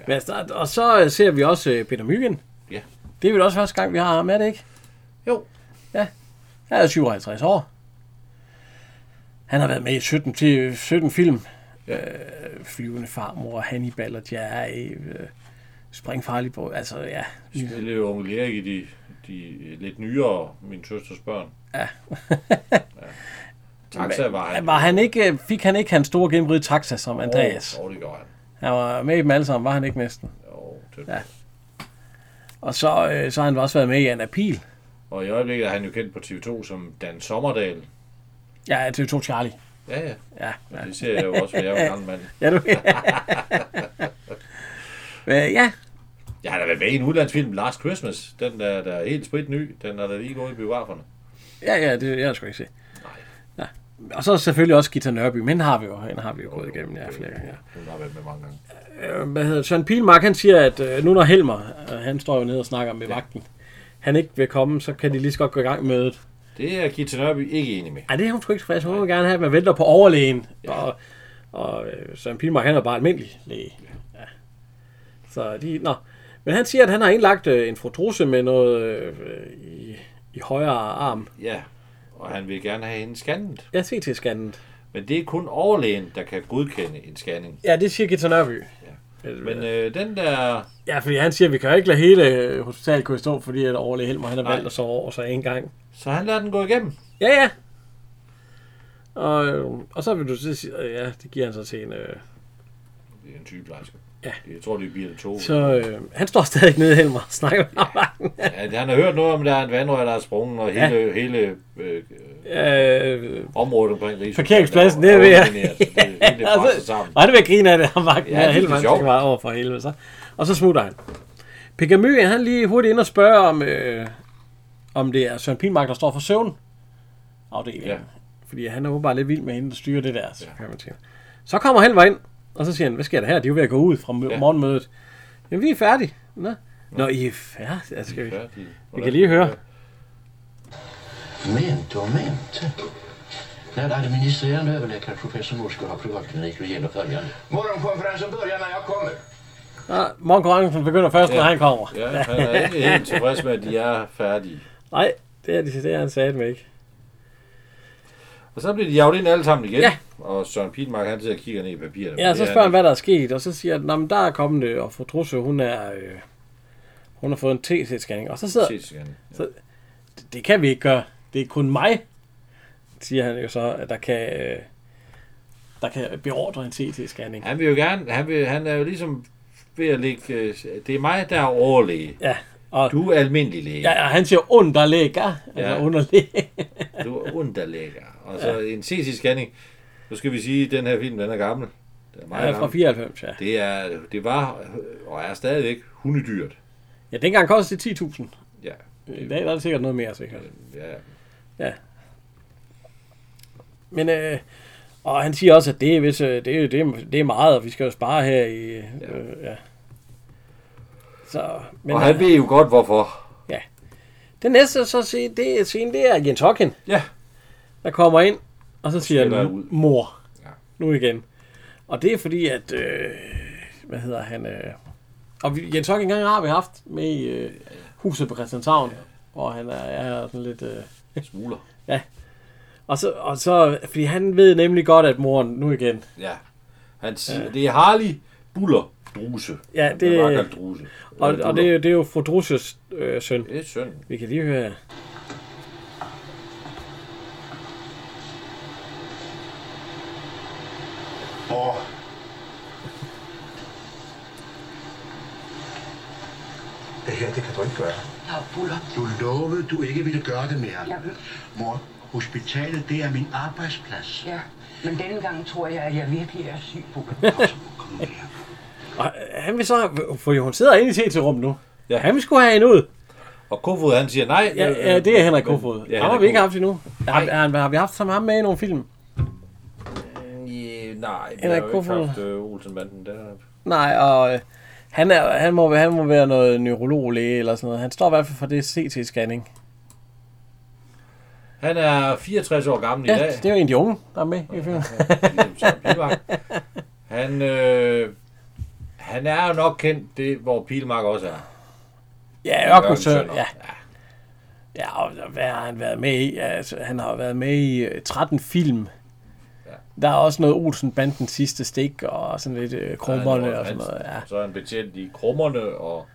[SPEAKER 1] Ja. Der, og så øh, ser vi også øh, Peter Myggen.
[SPEAKER 2] Ja.
[SPEAKER 1] Det er vel også første gang, vi har ham, er det ikke?
[SPEAKER 2] Jo.
[SPEAKER 1] Ja. Han er 57 år. Han har været med i 17, til 17 film. Øh, flyvende farmor, Hannibal og Jerry, øh, Springfarlig på, altså ja.
[SPEAKER 2] Spillede jo onkel Erik i de, de lidt nyere Min Søsters Børn. Ja. ja. Taxa var han.
[SPEAKER 1] Var han ikke, øh, fik han ikke hans store gennembrud i Taxa som Andreas?
[SPEAKER 2] Åh, oh, det gjorde han.
[SPEAKER 1] Han var med i dem alle sammen, var han ikke næsten?
[SPEAKER 2] Jo, det.
[SPEAKER 1] Ja.
[SPEAKER 2] Ja.
[SPEAKER 1] Og så, øh, så har han også været med i Anna Pil.
[SPEAKER 2] Og i øjeblikket er han jo kendt på TV2 som Dan Sommerdal.
[SPEAKER 1] Ja, TV2 Charlie.
[SPEAKER 2] Ja, ja.
[SPEAKER 1] Ja,
[SPEAKER 2] Og det ser jeg jo også, for jeg er jo en gammel mand.
[SPEAKER 1] Ja, du Øh, ja,
[SPEAKER 2] Jeg har da været med i en udlandsfilm, Last Christmas. Den der, der er helt sprit ny. Den er da lige gået i biograferne.
[SPEAKER 1] ja, ja, det jeg sgu ikke se. Ja. Og så selvfølgelig også Gita Nørby, men hende har vi jo, hende har vi jo gået igennem ja, flere gange.
[SPEAKER 2] Hun har været med mange gange.
[SPEAKER 1] Ja. Øh, Hvad hedder, Søren Pilmark, han siger, at øh, nu når Helmer, øh, han står jo nede og snakker med vagten, han ikke vil komme, så kan de lige så godt gå i gang med mødet.
[SPEAKER 2] Det er Gita Nørby ikke enig med.
[SPEAKER 1] Ej, det er hun sgu ikke tilfreds. Hun vil gerne have, at man venter på overlægen. Ja. Og, og øh, Søren Pilmark, han er bare almindelig læge. Ja. Så de, nå. Men han siger, at han har indlagt øh, en frotose med noget øh, i, i højre arm.
[SPEAKER 2] Ja, og han vil gerne have hende scannet.
[SPEAKER 1] Ja, se til scannet.
[SPEAKER 2] Men det er kun overlægen, der kan godkende en scanning.
[SPEAKER 1] Ja, det siger Gita Nørby. Ja.
[SPEAKER 2] Men øh, den der...
[SPEAKER 1] ja, fordi han siger, at vi kan jo ikke lade hele øh, hospitalet kunne stå, fordi at overlæge Helmer, han har
[SPEAKER 2] Nej.
[SPEAKER 1] valgt at sove over sig en gang.
[SPEAKER 2] Så han lader den gå igennem.
[SPEAKER 1] Ja, ja. Og, øh, og så vil du så sige, øh, ja, det giver han så til en... Øh.
[SPEAKER 2] Det er en sygeplejerske.
[SPEAKER 1] Ja.
[SPEAKER 2] Jeg tror, det er Birte Tove.
[SPEAKER 1] Så øh, han står stadig nede, Helmer, og snakker med ham.
[SPEAKER 2] Ja, han har hørt noget om, at der er en vandrør, der er sprunget, og hele, ja. hele øh, øh,
[SPEAKER 1] Øh,
[SPEAKER 2] området omkring Rigshuset.
[SPEAKER 1] parkeringspladsen, det er ved Altså- jeg.
[SPEAKER 2] Så det er hele
[SPEAKER 1] og
[SPEAKER 2] presset
[SPEAKER 1] så,
[SPEAKER 2] sammen.
[SPEAKER 1] og det vil jeg grine af det, han var
[SPEAKER 2] Ja,
[SPEAKER 1] ja,
[SPEAKER 2] det
[SPEAKER 1] hele
[SPEAKER 2] er sjovt.
[SPEAKER 1] manden var over for helvede. Så. Og så smutter han. Pegamy, han er lige hurtigt ind og spørger, om, øh, om det er Søren Pilmark, der står for søvn. Afdelingen. Ja.
[SPEAKER 2] Ja.
[SPEAKER 1] Fordi han er åbenbart lidt vild med hende, der styrer det der. Så, kan man sige. så kommer Helmer ind, og så siger han, hvad sker der her? De er jo ved at gå ud fra mø-
[SPEAKER 2] Ja.
[SPEAKER 1] morgenmødet. Jamen, vi er færdige. Nå, Nå I er færdige. Ja, skal vi.
[SPEAKER 2] Ja, de-
[SPEAKER 1] vi kan lige høre.
[SPEAKER 6] Mente och mente. När administrerande överläkare professor Mors skulle ha privatklinik och gäller följande.
[SPEAKER 4] Morgonkonferensen börjar när jeg kommer.
[SPEAKER 1] Nå, morgenkonferencen begynder først, når
[SPEAKER 2] Ja.
[SPEAKER 1] han kommer.
[SPEAKER 2] Ja, han er ikke helt tilfreds med, at de er færdige.
[SPEAKER 1] Nej, det er det, det er han sagde med ikke.
[SPEAKER 2] Og så bliver de javlet ind alle sammen igen.
[SPEAKER 1] Ja.
[SPEAKER 2] Og Søren Pilmark, han sidder og kigger ned i papirerne.
[SPEAKER 1] Ja,
[SPEAKER 2] Men
[SPEAKER 1] så
[SPEAKER 2] det er
[SPEAKER 1] spørger han,
[SPEAKER 2] han
[SPEAKER 1] hvad der er sket, og så siger han, "Nå, men der er kommet, øh, og fru Trusse, hun er... Øh, hun har fået en TC-scanning, og så sidder...
[SPEAKER 2] ikke. Ses igen. Ja.
[SPEAKER 1] Det kan vi ikke gøre. Det er kun mig, siger han jo så, at der kan... Øh, der kan beordre en TT-scanning.
[SPEAKER 2] Han vil jo gerne, han, vil, han er jo ligesom ved at ligge, øh, det er mig, der er overlæge.
[SPEAKER 1] Ja, og,
[SPEAKER 2] Du er almindelig læge.
[SPEAKER 1] ja, og han siger underlægger, altså
[SPEAKER 2] Ja.
[SPEAKER 1] underlægger.
[SPEAKER 2] Du er underlægger. Og så en CT-scanning. Så skal vi sige, at den her film, den er gammel. Den er meget
[SPEAKER 1] Ja, fra
[SPEAKER 2] gammel.
[SPEAKER 1] 94, ja.
[SPEAKER 2] Det, er, det var, øh, og er stadigvæk, hundedyrt.
[SPEAKER 1] Ja, dengang kostede det 10.000.
[SPEAKER 2] Ja,
[SPEAKER 1] I dag er det sikkert noget mere, sikkert.
[SPEAKER 2] ja.
[SPEAKER 1] Men øh, og han siger også, at det er, hvis, øh, det, er- det, er- det er meget, og vi skal jo spare her i... Øh, ja. Så, men
[SPEAKER 2] Og han
[SPEAKER 1] øh,
[SPEAKER 2] ved jo godt, hvorfor.
[SPEAKER 1] den næste så se, det er scene, det er Jens Hocken,
[SPEAKER 2] Ja.
[SPEAKER 1] der kommer ind, og så siger
[SPEAKER 2] skælder
[SPEAKER 1] han,
[SPEAKER 2] ud.
[SPEAKER 1] mor,
[SPEAKER 2] Ja.
[SPEAKER 1] nu igen. Og det er fordi, at øh, hvad hedder han? Øh, og vi, Jens Høkken engang har vi haft med i øh, huset på Christianshavn, hvor han er, er sådan lidt... Øh,
[SPEAKER 2] Smuler.
[SPEAKER 1] og, så, og så, fordi han ved nemlig godt, at moren nu igen.
[SPEAKER 2] Ja. Han siger, det er Harley Buller Druse.
[SPEAKER 1] Ja,
[SPEAKER 2] Han
[SPEAKER 1] det-
[SPEAKER 2] bliver bare kaldt Druse.
[SPEAKER 1] Og,
[SPEAKER 2] Eller
[SPEAKER 1] og det, er
[SPEAKER 2] Buller.
[SPEAKER 1] jo- det er jo fru Drusses øh, søn.
[SPEAKER 2] Det er synd.
[SPEAKER 1] Vi kan lige høre her.
[SPEAKER 6] Mor.
[SPEAKER 7] Det her, det kan du ikke gøre.
[SPEAKER 6] Ja, Buller. Du lovede, du ikke ville gøre det mere.
[SPEAKER 8] Ja.
[SPEAKER 6] Mor, hospitalet, det er min arbejdsplads.
[SPEAKER 8] Ja, men denne gang tror jeg, at jeg virkelig er syg på det.
[SPEAKER 6] Kom så, mor, kom nu
[SPEAKER 1] Og
[SPEAKER 6] her.
[SPEAKER 1] øh, han vil så... For hun sidder inde i TT-rummet nu. Ja.
[SPEAKER 2] Ja.
[SPEAKER 1] Han vil skulle have hende ud.
[SPEAKER 2] Og Kofod, han siger nej.
[SPEAKER 1] Ja,
[SPEAKER 2] øh,
[SPEAKER 1] ja det er Henrik
[SPEAKER 2] men-
[SPEAKER 1] Kofod. Ja,
[SPEAKER 2] Ja,
[SPEAKER 1] ham har
[SPEAKER 2] Henrik
[SPEAKER 1] vi ikke
[SPEAKER 2] Kofod.
[SPEAKER 1] haft endnu. Har, har, har vi haft sammen ham med i nogle film?
[SPEAKER 2] Ja, nej, vi har
[SPEAKER 1] Henrik
[SPEAKER 2] jo ikke
[SPEAKER 1] Kofod.
[SPEAKER 2] haft øh, Olsenbanden der.
[SPEAKER 1] Nej, og øh, han, er, han, må, han må være noget neurologlæge eller sådan noget. Han står i hvert fald for det CT-scanning.
[SPEAKER 2] Han er 64 år gammel
[SPEAKER 1] Ja,
[SPEAKER 2] i dag.
[SPEAKER 1] det er jo en af de unge, der er med i filmen.
[SPEAKER 2] William Søren Pilmark. Han, øh, han er jo nok kendt det, hvor Pilmark også er.
[SPEAKER 1] Ja, Ørkensøn.
[SPEAKER 2] Ørkensøn,
[SPEAKER 1] Ja. ja, og hvad har han været med i? Altså, han har jo været med i øh, 13 film. Der er også noget Olsen-banden sidste stik, og sådan lidt øh, krummerne og sådan noget. Ja.
[SPEAKER 2] Så er han betjent i krummerne, og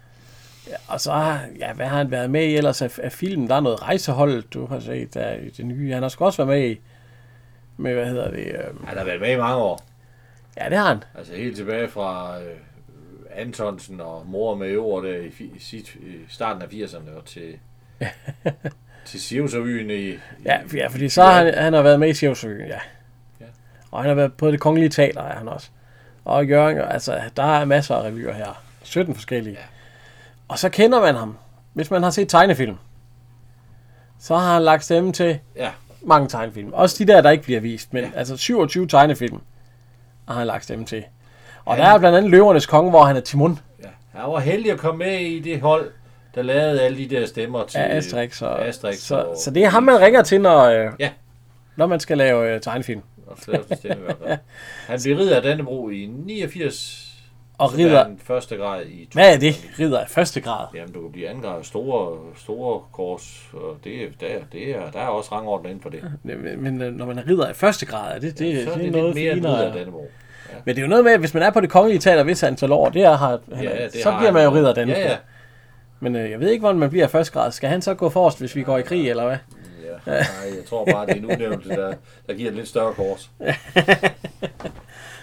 [SPEAKER 1] Og så har, ja, hvad har han været med i ellers af, af film? Der er noget rejsehold, du har set der i det nye. Han har sgu også været med i, med hvad hedder det? Øh,
[SPEAKER 2] han har været med i mange år.
[SPEAKER 1] ja, det har han.
[SPEAKER 2] Altså helt tilbage fra øh, Antonsen og mor med øver der i, fi- sit, i starten af 80'erne og til, til Sivsavyen i... i
[SPEAKER 1] Ja, for- ja fordi så har han, han har været med i Sjævsøen, ja.
[SPEAKER 2] Ja.
[SPEAKER 1] Og han har været på det kongelige teater, er han også. Og Jørgen, altså, der er masser af revyer her. 17 forskellige. Ja. Og så kender man ham. Hvis man har set tegnefilm, så har han lagt stemme til
[SPEAKER 2] Ja,
[SPEAKER 1] mange tegnefilm. Også de der, der ikke bliver vist, men ja. altså 27 tegnefilm har han lagt stemme til. Og ja. der er blandt andet Løvernes Konge, hvor han er Timon
[SPEAKER 2] ja. Han var heldig at komme med i det hold, der lavede alle de der stemmer til... øh,
[SPEAKER 1] af Asterix. Og,
[SPEAKER 2] Asterix
[SPEAKER 1] så,
[SPEAKER 2] og-
[SPEAKER 1] så det er ham, man ringer til, når, øh,
[SPEAKER 2] Ja.
[SPEAKER 1] når man skal lave øh, tegnefilm.
[SPEAKER 2] Og Flavsen stemme i hvert fald. Han blev ridder af Dannebro i 89.
[SPEAKER 1] Og
[SPEAKER 2] så
[SPEAKER 1] ridder-
[SPEAKER 2] er han første grad i...
[SPEAKER 1] Hvad er det? Ridder af første grad.
[SPEAKER 2] Jamen, du kan blive anden grad store, store kors, og det, er- der, det er, der er også rangordner inden for det. Det,
[SPEAKER 1] Men, men øh, når man er ridder i første grad, er det, det, ja, det,
[SPEAKER 2] så er
[SPEAKER 1] det er
[SPEAKER 2] det
[SPEAKER 1] noget
[SPEAKER 2] lidt
[SPEAKER 1] mere
[SPEAKER 2] mere end ridder af
[SPEAKER 1] finere.
[SPEAKER 2] Dannebro.
[SPEAKER 1] Men det er jo noget med, at hvis man er på det kongelige teater, hvis antal år, det er, har,
[SPEAKER 2] Ja, det
[SPEAKER 1] så
[SPEAKER 2] har
[SPEAKER 1] bliver
[SPEAKER 2] han
[SPEAKER 1] man jo ridder den.
[SPEAKER 2] Ja, ja.
[SPEAKER 1] Men øh, jeg ved ikke, hvordan man bliver i første grad. Skal han så gå forrest, hvis vi går i krig, eller hvad?
[SPEAKER 2] ja. Nej, jeg tror bare, det er en udnævnelse, der, der giver et lidt større kors.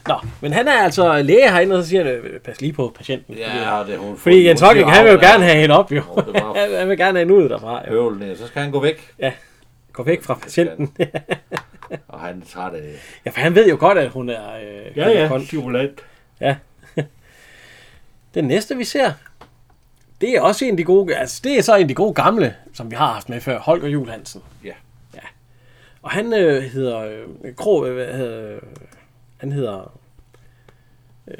[SPEAKER 1] Nå, men han er altså læge herinde, og så siger han, øh, pas lige på patienten. fordi-
[SPEAKER 2] det er hun.
[SPEAKER 1] fordi Jens Hocking, han vil jo gerne have hende op, jo.
[SPEAKER 2] Nå, det var-
[SPEAKER 1] Han, han vil gerne have hende ud derfra. Jo.
[SPEAKER 2] høvlen ned, så skal han gå væk.
[SPEAKER 1] Gå væk fra patienten.
[SPEAKER 2] Og han er træt af det.
[SPEAKER 1] Ja, for han ved jo godt, at hun er... Øh, hun er kold.
[SPEAKER 2] stimulant.
[SPEAKER 1] Den næste, vi ser, det er også en af de gode, altså det er så en af de gode gamle, som vi har haft med før, Holger Juhl Hansen.
[SPEAKER 2] Ja.
[SPEAKER 1] ja. Og han øh, hedder, øh, Kro, øh, hvad hedder, han hedder øh,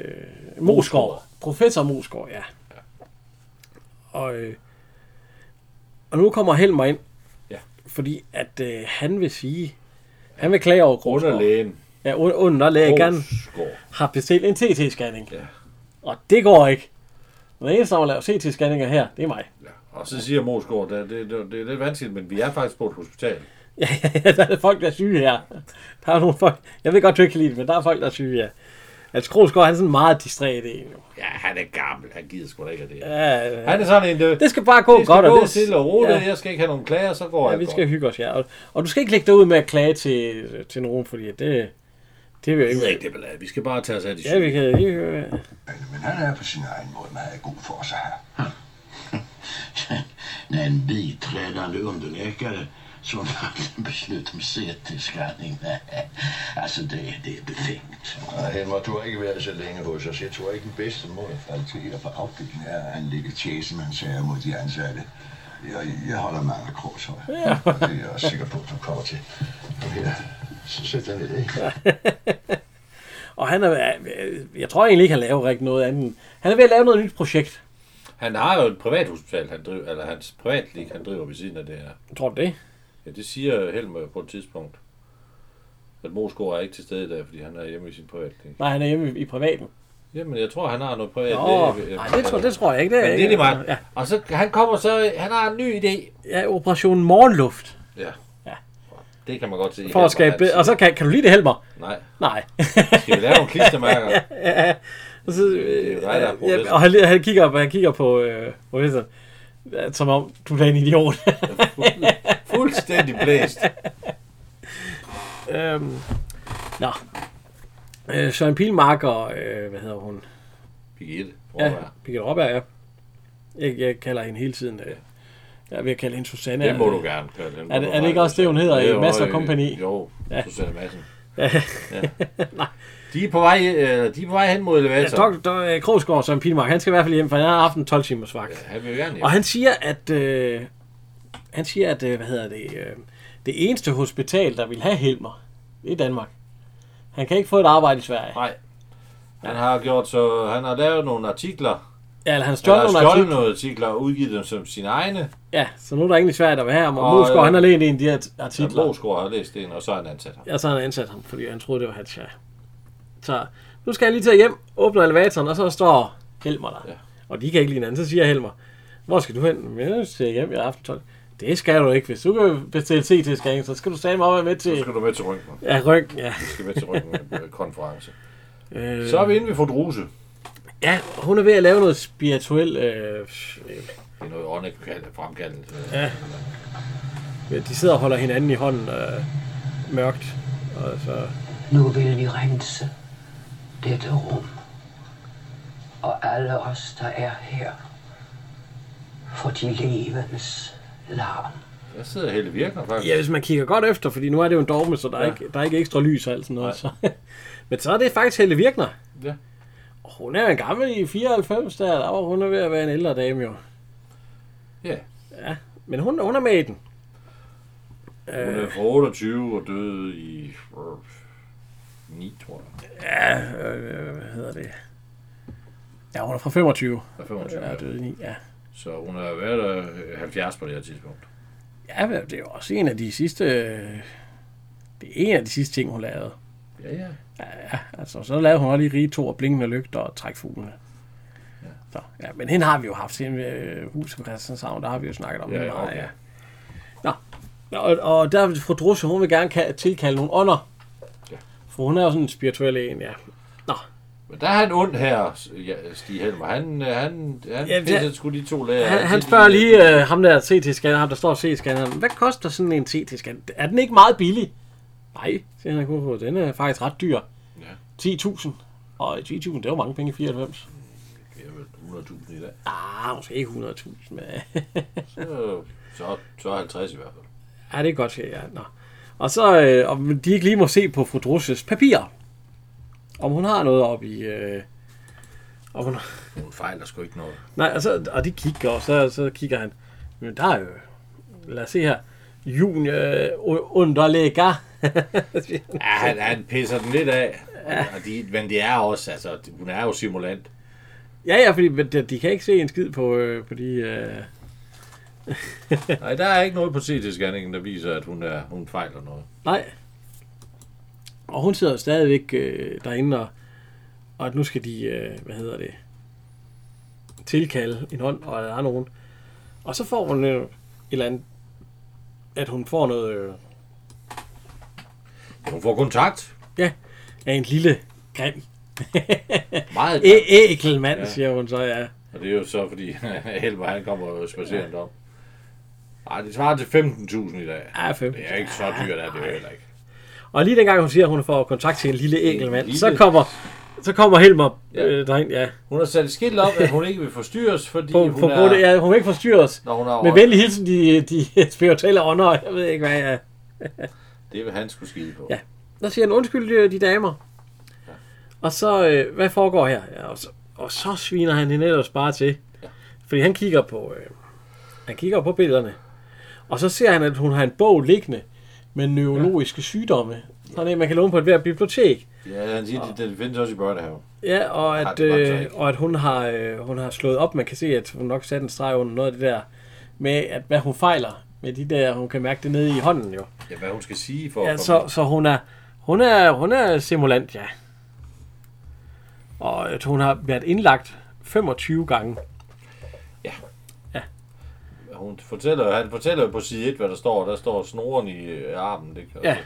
[SPEAKER 1] Moskov. Professor Moskov, ja. Og, øh, og nu kommer Helmer ind,
[SPEAKER 2] Ja.
[SPEAKER 1] fordi at øh, han vil sige, han vil klage over Krogsgaard.
[SPEAKER 2] Underlægen.
[SPEAKER 1] Ja, un- underlæggeren
[SPEAKER 2] Krogsgaard.
[SPEAKER 1] har bestilt en CT-scanning.
[SPEAKER 2] Ja.
[SPEAKER 1] Og det går ikke. Den eneste, der må lave CT-scanninger her, det er mig.
[SPEAKER 2] Og så siger Mosgaard, det, det, det, det er lidt vanskeligt, men vi er faktisk på et hospital.
[SPEAKER 1] Ja, ja, ja, der er folk, der er syge her. Der er nogle folk, jeg ved godt, du ikke kan lide det, men der er folk, der er syge her. Altså, Krogsgaard, han er sådan meget distræt en. jo.
[SPEAKER 2] Ja, han er gammel, han gider sgu da ikke af det. Ja.
[SPEAKER 1] Ja, ja.
[SPEAKER 2] Han er sådan en, det,
[SPEAKER 1] det skal bare gå
[SPEAKER 2] det skal
[SPEAKER 1] godt.
[SPEAKER 2] gå
[SPEAKER 1] det-
[SPEAKER 2] stille og roligt,
[SPEAKER 1] Ja,
[SPEAKER 2] ja. jeg skal ikke have nogen klager, så går
[SPEAKER 1] ja,
[SPEAKER 2] jeg
[SPEAKER 1] vi skal hygge os, ja. Og, og du skal ikke lægge dig ud med at klage til, til nogen, fordi det, det vil jeg
[SPEAKER 2] Jeg ved
[SPEAKER 1] ikke.
[SPEAKER 2] ikke det ballade, vi skal bare tage os af de
[SPEAKER 1] Ja,
[SPEAKER 2] syge.
[SPEAKER 1] vi kan lige høre.
[SPEAKER 7] Men han er på sin egen måde meget god for sig her.
[SPEAKER 6] När en biträdande underläkare som fattade beslut om CT-scanning. Nej, alltså det, det är befängt.
[SPEAKER 7] Nej, Helmer, du har ikke været så længe hos os. Jeg tror ikke, den bedste måde at falde til her på afdelingen er, at han ligger tjesemandsager mod de ansatte. Jeg, jeg holder mange krogshøj. Ja. Og det er jeg også sikker på, at du kommer til. Kom her. Så sæt dig ned, ikke?
[SPEAKER 1] Og han er, jeg tror egentlig ikke, han laver rigtig noget andet. end- Han er ved at lave noget nyt projekt.
[SPEAKER 2] Han har jo et privathospital, han driver, eller hans privatlig, han driver ved siden af det her.
[SPEAKER 1] Tror du det?
[SPEAKER 2] Ja, det siger Helmer på et tidspunkt. At Mosgaard er ikke til stede i dag, fordi han er hjemme i sin privatlig.
[SPEAKER 1] Nej, han er hjemme i, i privaten.
[SPEAKER 2] Jamen, jeg tror, han har noget privat.
[SPEAKER 1] Åh,
[SPEAKER 2] øh, øh,
[SPEAKER 1] nej, det tror, det tror jeg ikke. Det er,
[SPEAKER 2] Men det er
[SPEAKER 1] ikke.
[SPEAKER 2] lige meget. Ja. Og så han kommer så, han har en ny idé.
[SPEAKER 1] Ja, operation morgenluft.
[SPEAKER 2] Ja.
[SPEAKER 1] Ja.
[SPEAKER 2] Det kan man godt se.
[SPEAKER 1] For at skabe, be- og så kan, kan du lide det, Helmer?
[SPEAKER 2] Nej,
[SPEAKER 1] Nej.
[SPEAKER 2] skal vi lave nogle klistermærker?
[SPEAKER 1] Og så,
[SPEAKER 2] det er jo dig, der er
[SPEAKER 1] øh,
[SPEAKER 2] professor.
[SPEAKER 1] ja, og han, han, kigger, på- han kigger på øh, professoren, øh, som om du er en idiot.
[SPEAKER 2] Fuldstændig blæst.
[SPEAKER 1] øhm, nå. Øh, Søren Pilmark og, øh, hvad hedder hun?
[SPEAKER 2] Birgitte, prøv
[SPEAKER 1] Ja,
[SPEAKER 2] at være.
[SPEAKER 1] Birgitte Råberg, ja. Jeg, jeg kalder hende hele tiden. Øh, jeg er ved at kalde hende Susanne.
[SPEAKER 2] Det må du gerne gøre. Den må
[SPEAKER 1] er det-
[SPEAKER 2] du
[SPEAKER 1] er det ikke
[SPEAKER 2] bare-
[SPEAKER 1] også det, hun hedder i
[SPEAKER 2] Jo,
[SPEAKER 1] Mads og
[SPEAKER 2] øh,
[SPEAKER 1] Kompagni?
[SPEAKER 2] Jo,
[SPEAKER 1] Ja.
[SPEAKER 2] Susanne Madsen. Ja. De er på vej, øh, de er på vej hen mod
[SPEAKER 1] Ja,
[SPEAKER 2] elevator.
[SPEAKER 1] Dok, Dok, øh, Krogsgaard, Søren Pilmark, han skal i hvert fald hjem, for han har haft en 12 timers vagt.
[SPEAKER 2] Han vil jo gerne hjem.
[SPEAKER 1] Og han siger, at... Øh, han siger, at... Øh, hvad hedder det? Øh, det eneste hospital, der vil have Helmer, det er Danmark. Han kan ikke få et arbejde i Sverige.
[SPEAKER 2] Nej. Han har gjort så, han har lavet nogle artikler.
[SPEAKER 1] Ja, eller han
[SPEAKER 2] Han
[SPEAKER 1] stjålet
[SPEAKER 2] har
[SPEAKER 1] nogle
[SPEAKER 2] stjålet
[SPEAKER 1] artikler.
[SPEAKER 2] nogle artikler og udgivet dem som sine egne.
[SPEAKER 1] Ja, så nu er der ingen i Sverige, der vil have ham. Og,
[SPEAKER 2] Og,
[SPEAKER 1] og Mosgaard,
[SPEAKER 2] øh,
[SPEAKER 1] han har lænt en af de her
[SPEAKER 2] Så
[SPEAKER 1] artikler.
[SPEAKER 2] Brosgaard har læst en, og så har han ansat ham.
[SPEAKER 1] Ja, så har han ansat ham, fordi han troede, det var hans ja. Så nu skal jeg lige tage hjem, åbner elevatoren, og så står Helmer der. Ja.
[SPEAKER 2] Ja.
[SPEAKER 1] Og de kan ikke lide hinanden. Så siger Helmer, hvor skal du hen? Men jeg siger hjem, jeg har aften 12. Det skal du ikke. Hvis du kan bestille c til skæring, så skal du sammen op og være med
[SPEAKER 2] Så
[SPEAKER 1] til...
[SPEAKER 2] skal du med til Røntgen.
[SPEAKER 1] Ja, ryg, ja.
[SPEAKER 2] Du skal med til Røntgen konference.
[SPEAKER 1] Øh,
[SPEAKER 2] Så er vi inde ved Fodruse.
[SPEAKER 1] ja, hun er ved at lave noget spirituel... Øh,
[SPEAKER 2] Det er noget åndekald fremkaldende.
[SPEAKER 1] øh, de sidder og holder hinanden i hånden øh, mørkt. Og så,
[SPEAKER 8] Nu vil vi rense dette rum. Og alle os, der er her. For de levendes larm.
[SPEAKER 2] Der sidder Helle Virkner faktisk.
[SPEAKER 1] ja, hvis man kigger godt efter, fordi nu er det jo en dogme, så der, er,
[SPEAKER 2] Ja.
[SPEAKER 1] ikke, der er ikke ekstra lys og alt sådan noget. Så. Men så er det faktisk Helle Virkner.
[SPEAKER 2] Ja.
[SPEAKER 1] Hun er jo en gammel i 94, der, der var hun er ved at være en ældre dame jo.
[SPEAKER 2] ja.
[SPEAKER 1] Men hun, hun er med i den.
[SPEAKER 2] Hun er fra 28 og døde i... øh, 9, tror jeg.
[SPEAKER 1] Ja, øh, hvad hedder det? Ja, hun er fra 25.
[SPEAKER 2] Eller 25.
[SPEAKER 1] Ja,
[SPEAKER 2] Ja,
[SPEAKER 1] døde i, ja.
[SPEAKER 2] Så hun har været der øh, 70 på det her tidspunkt.
[SPEAKER 1] ja, men det er jo også en af de sidste... øh, Det er en af de sidste ting, hun lavede.
[SPEAKER 2] Ja, ja.
[SPEAKER 1] Altså, så lavede hun også lige rige to og blinkende lygter og træk fuglene. Så, ja, men hende har vi jo haft til øh, huset på Christianshavn, der har vi jo snakket om
[SPEAKER 2] Ja,
[SPEAKER 1] det
[SPEAKER 2] ja,
[SPEAKER 1] meget,
[SPEAKER 2] okay.
[SPEAKER 1] Nå, og, og der vil fru Drusse, hun vil gerne ka- tilkalde nogle ånder.
[SPEAKER 2] Ja.
[SPEAKER 1] For hun er jo sådan en spirituel en, ja. Nå,
[SPEAKER 2] Men der er han ond her, s- ja, Stig Helmer. Han, øh, han, han
[SPEAKER 1] Ja,
[SPEAKER 2] ja,
[SPEAKER 1] det-
[SPEAKER 2] pisser sgu de to læger.
[SPEAKER 1] han,
[SPEAKER 2] til
[SPEAKER 1] han
[SPEAKER 2] de-
[SPEAKER 1] spørger lige øh, ham der CT-scanner, ham der står CT-scanner, hvad koster sådan en CT-scanner? Er den ikke meget billig? Nej, siger han, "Gud, den er faktisk ret dyr. Ja. 10.000. Og 10.000, det var mange penge i 94.
[SPEAKER 2] Ja, vel, 100.000 i dag.
[SPEAKER 1] Ah, måske ikke 100.000, men...
[SPEAKER 2] Så, så, så 50 i hvert fald.
[SPEAKER 1] Ja, det er godt, siger jeg. Nå. Og så, øh, om de ikke lige må se på fru Drusses papirer. Om hun har noget op i... Øh, om hun,
[SPEAKER 2] Hun fejler sgu ikke noget.
[SPEAKER 1] nej, og, så, og de kigger, og så, så kigger han. Men der er jo... Lad os se her. Junior øh, u- underlægger.
[SPEAKER 2] Ja, han, han pisser den lidt af. Ja. Og de, men det er også, altså, de- hun er jo simulant.
[SPEAKER 1] ja, ja, fordi men de, de kan ikke se en skid på, øh, på de... Øh,
[SPEAKER 2] Nej, der er ikke noget på CT-scanningen, der viser, at hun, er, hun fejler noget.
[SPEAKER 1] nej. Og hun sidder jo stadigvæk øh, derinde, og, og at nu skal de... Øh, hvad hedder det? tilkalde en hånd, og der er nogen. Og så får hun øh, et eller andet, at hun får noget øh,
[SPEAKER 2] Hun får kontakt.
[SPEAKER 1] ja, af en lille grim
[SPEAKER 2] Meget
[SPEAKER 1] æ- ækel mand, ja.
[SPEAKER 2] Ja.
[SPEAKER 1] siger hun så, ja.
[SPEAKER 2] Og det er jo så, fordi Helmer, han kommer jo spacerende om. Ej, det svarer til 15.000 i dag.
[SPEAKER 1] Ja, fem.
[SPEAKER 2] Det er ikke så dyrt, er det jo heller ikke.
[SPEAKER 1] Og lige dengang hun siger, at hun får kontakt til en lille ækel mand,
[SPEAKER 2] lille-
[SPEAKER 1] så kommer, så kommer Helmer
[SPEAKER 2] Ja.
[SPEAKER 1] øh, derind, ja.
[SPEAKER 2] Hun har sat et skilt op, at hun ikke vil forstyrres, fordi
[SPEAKER 1] På,
[SPEAKER 2] hun
[SPEAKER 1] på,
[SPEAKER 2] er...
[SPEAKER 1] på det, ja, hun vil ikke forstyrre os.
[SPEAKER 2] Når hun er
[SPEAKER 1] Med
[SPEAKER 2] over-
[SPEAKER 1] venlig hilsen, de, de spirituelle ånder, og jeg ved ikke hvad, ja.
[SPEAKER 2] Det vil han skulle skide på.
[SPEAKER 1] Ja. Der siger han, undskyld øh, de damer. Og så, øh, hvad foregår her? Ja, og, så, og så sviner han hende ellers bare til. Fordi han kigger på, øh, han kigger på billederne. Og så ser han, at hun har en bog liggende med neurologiske sygdomme. Sådan en, man kan låne på et hvert bibliotek.
[SPEAKER 2] ja han siger, at det, det findes også i børnehaven.
[SPEAKER 1] Ja, og
[SPEAKER 2] Ej,
[SPEAKER 1] at,
[SPEAKER 2] det var det så
[SPEAKER 1] øh,
[SPEAKER 2] ikke.
[SPEAKER 1] og at hun, har, øh, hun har slået op. Man kan se, at hun nok satte en streg under noget af det der med, at hvad hun fejler med de der, hun kan mærke det nede i hånden jo.
[SPEAKER 2] Ja, hvad hun skal sige for at
[SPEAKER 1] Ja, så,
[SPEAKER 2] komme-
[SPEAKER 1] så hun er, hun er, hun er simulant, ja. Og jeg tror, hun har været indlagt 25 gange.
[SPEAKER 2] Hun fortæller, han fortæller jo på side 1, hvad der står. Der står snoren i øh, armen. Det, kan-
[SPEAKER 1] Ja.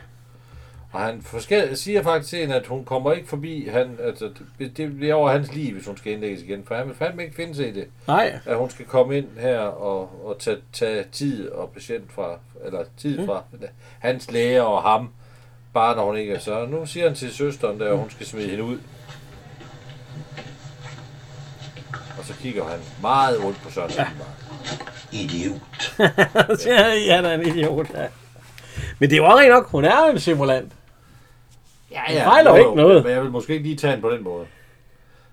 [SPEAKER 2] Og han forskel, siger faktisk til hende, at hun kommer ikke forbi. Han, altså, det, det bliver over hans liv, hvis hun skal indlægges igen. For han vil fandme ikke finde sig i det.
[SPEAKER 1] Nej.
[SPEAKER 2] At hun skal komme ind her og, og tage, tage, tid og patient fra, eller
[SPEAKER 1] Mm.
[SPEAKER 2] tid fra hans læge og ham. Bare når hun ikke er så. Nu siger han til søsteren der, at hun skal smide hende ud. Og så kigger han meget ondt på Søren. Ja.
[SPEAKER 6] Idiot.
[SPEAKER 1] Så ja, ja, han er en idiot, ja. Men det er jo også rent nok, hun er jo en simulant.
[SPEAKER 2] Ja,
[SPEAKER 1] Han fejler jo ikke noget.
[SPEAKER 2] Men jeg vil måske ikke lige tage den på den måde.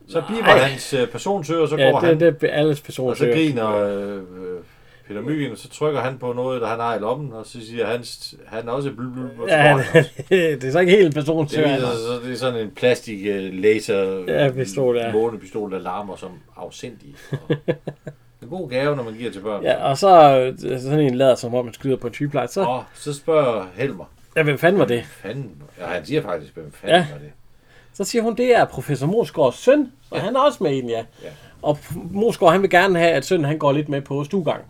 [SPEAKER 2] Så bliver
[SPEAKER 1] Nej.
[SPEAKER 2] hans øh, personsøger, og så
[SPEAKER 1] Ja,
[SPEAKER 2] går han,
[SPEAKER 1] det, det er alles person.
[SPEAKER 2] og så griner øh, øh, Peter Myggen, og så trykker han på noget, der han har i lommen, og så siger han, han er også blu, blu, blu,
[SPEAKER 1] Ja, han, det er så ikke helt en person.
[SPEAKER 2] det, viser, sig så, det er sådan en plastik øh, laser
[SPEAKER 1] Ja, pistol, ja.
[SPEAKER 2] månepistol, der larmer som afsindig. Og en god gave, når man giver til børn.
[SPEAKER 1] Ja, og så øh, sådan en lader, som om man skyder på en sygeplejerske. Så,
[SPEAKER 2] Og så spørger Helmer,
[SPEAKER 1] ja, hvem fanden var det?
[SPEAKER 2] fanden, ja, han siger faktisk, hvem fanden
[SPEAKER 1] Ja.
[SPEAKER 2] var det?
[SPEAKER 1] Så siger hun, det er professor Morsgaards søn, og han er også med i den, ja.
[SPEAKER 2] Ja.
[SPEAKER 1] Og Morsgaard, han vil gerne have, at sønnen han går lidt med på stuegang.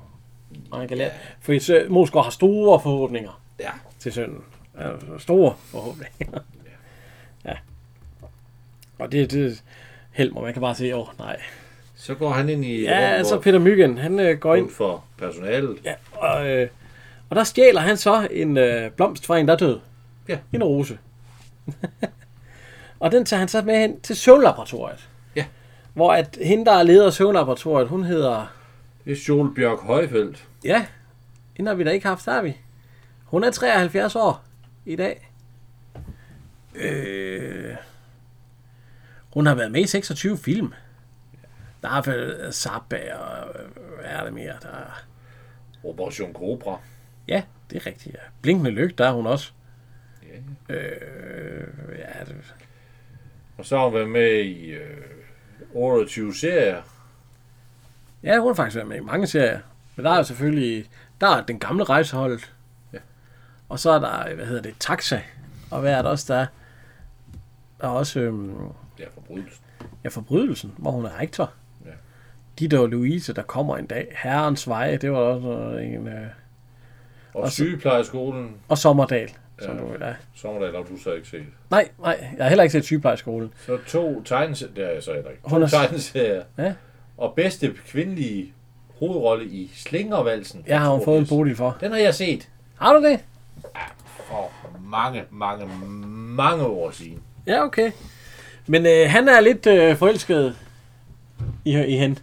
[SPEAKER 1] Og han kan lære. Fordi sø- Morsgaard har store forhåbninger
[SPEAKER 2] Ja,
[SPEAKER 1] til sønnen. Altså, store forhåbninger. ja. Og det er Helmer, man kan bare sige, åh nej.
[SPEAKER 2] så går han ind i
[SPEAKER 1] Ja,
[SPEAKER 2] rummet,
[SPEAKER 1] altså
[SPEAKER 2] hvor-
[SPEAKER 1] Peter Myggen, han øh, går ind,
[SPEAKER 2] uden for personalet.
[SPEAKER 1] ja, og, øh, og der stjæler han så en øh, blomst fra en, der er død.
[SPEAKER 2] Ja.
[SPEAKER 1] En rose. og den tager han så med hen til søvnlaboratoriet.
[SPEAKER 2] Ja.
[SPEAKER 1] Hvor at hende, der er leder af søvnlaboratoriet, hun hedder...
[SPEAKER 2] Det er Solbjørk Højfeldt.
[SPEAKER 1] Ja, hende har vi da ikke haft, har vi. Hun er 73 år i dag. Øh, hun har været med i 26 film. Der er øh, Zappa og... øh, Hvad er det mere? Der er,
[SPEAKER 2] Operation Cobra.
[SPEAKER 1] ja, det er rigtigt. Ja. Blinkende lyg, der er hun også. Øh, ja, det,
[SPEAKER 2] Og så har hun været med i øh, 28 serier.
[SPEAKER 1] ja, hun har faktisk været med i mange serier. Men der er jo selvfølgelig... Der er den gamle rejsehold.
[SPEAKER 2] Ja.
[SPEAKER 1] Og så er der, hvad hedder det, Taxa. Og hvad er der også, der er? Der er også... Øhm,
[SPEAKER 2] Ja, forbrydelsen.
[SPEAKER 1] Ja, forbrydelsen, hvor hun er rektor. Ja.
[SPEAKER 2] Ja.
[SPEAKER 1] De der Louise, der kommer en dag. Herrens veje, det var også noget, en... Øh,
[SPEAKER 2] Og,
[SPEAKER 1] Og
[SPEAKER 2] og
[SPEAKER 1] så-
[SPEAKER 2] sygeplejeskolen,
[SPEAKER 1] og Sommerdal, ja. som
[SPEAKER 2] Ja.
[SPEAKER 1] du vil have.
[SPEAKER 2] Sommerdal har du så ikke set.
[SPEAKER 1] Nej, nej, jeg har heller ikke set sygeplejeskolen.
[SPEAKER 2] Så to tegneserier. Det har jeg så heller ikke.
[SPEAKER 1] Hun
[SPEAKER 2] To
[SPEAKER 1] er-
[SPEAKER 2] tegneserier.
[SPEAKER 1] Ja.
[SPEAKER 2] Og bedste kvindelige hovedrolle i Slingervalsen.
[SPEAKER 1] Jeg har jo fået en bodil for.
[SPEAKER 2] Den har jeg set
[SPEAKER 1] Har du det?
[SPEAKER 2] for mange, mange, mange år siden.
[SPEAKER 1] Ja, okay. Men øh, han er lidt øh, forelsket i, i hende.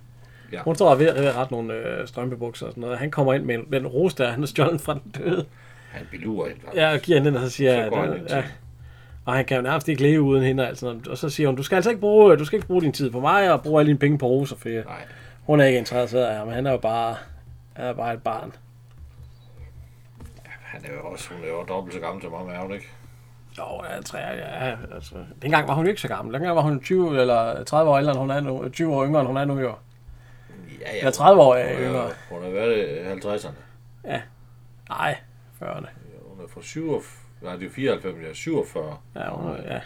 [SPEAKER 2] Ja.
[SPEAKER 1] Hun står ved ved at rette nogle øh, strømpebukser og sådan noget. Han kommer ind med en, den rose der, han er stjålet fra den døde.
[SPEAKER 2] Han belurer hende. Ja.
[SPEAKER 1] Ja, og giver hende den, og så siger
[SPEAKER 2] Så går
[SPEAKER 1] jeg,
[SPEAKER 2] han ind til
[SPEAKER 1] ja. Og han kan jo nærmest ikke leve uden hende. Altså. Og så siger hun, du skal altså ikke bruge, du skal ikke bruge din tid på mig, og bruge alle dine penge på roser, for jeg-
[SPEAKER 2] Nej.
[SPEAKER 1] hun er ikke interesseret af ham. Han er jo bare, han er bare et barn.
[SPEAKER 2] Han er jo også, hun er jo dobbelt så gammel som mig, er hun ikke?
[SPEAKER 1] Jo, jeg er tre, ja, altså. Dengang var hun jo ikke så gammel. Dengang var hun 20 eller 30 år ældre, end hun er nu. 20 år yngre, end hun er nu i år.
[SPEAKER 2] Ja,
[SPEAKER 1] Eller 30 år
[SPEAKER 2] Hun
[SPEAKER 1] yngre.
[SPEAKER 2] er- Hun har været i 50'erne.
[SPEAKER 1] Nej, 40'erne.
[SPEAKER 2] Hun er fra 7, nej, det er 94, jeg er 47.
[SPEAKER 1] Ja, hun er, ja.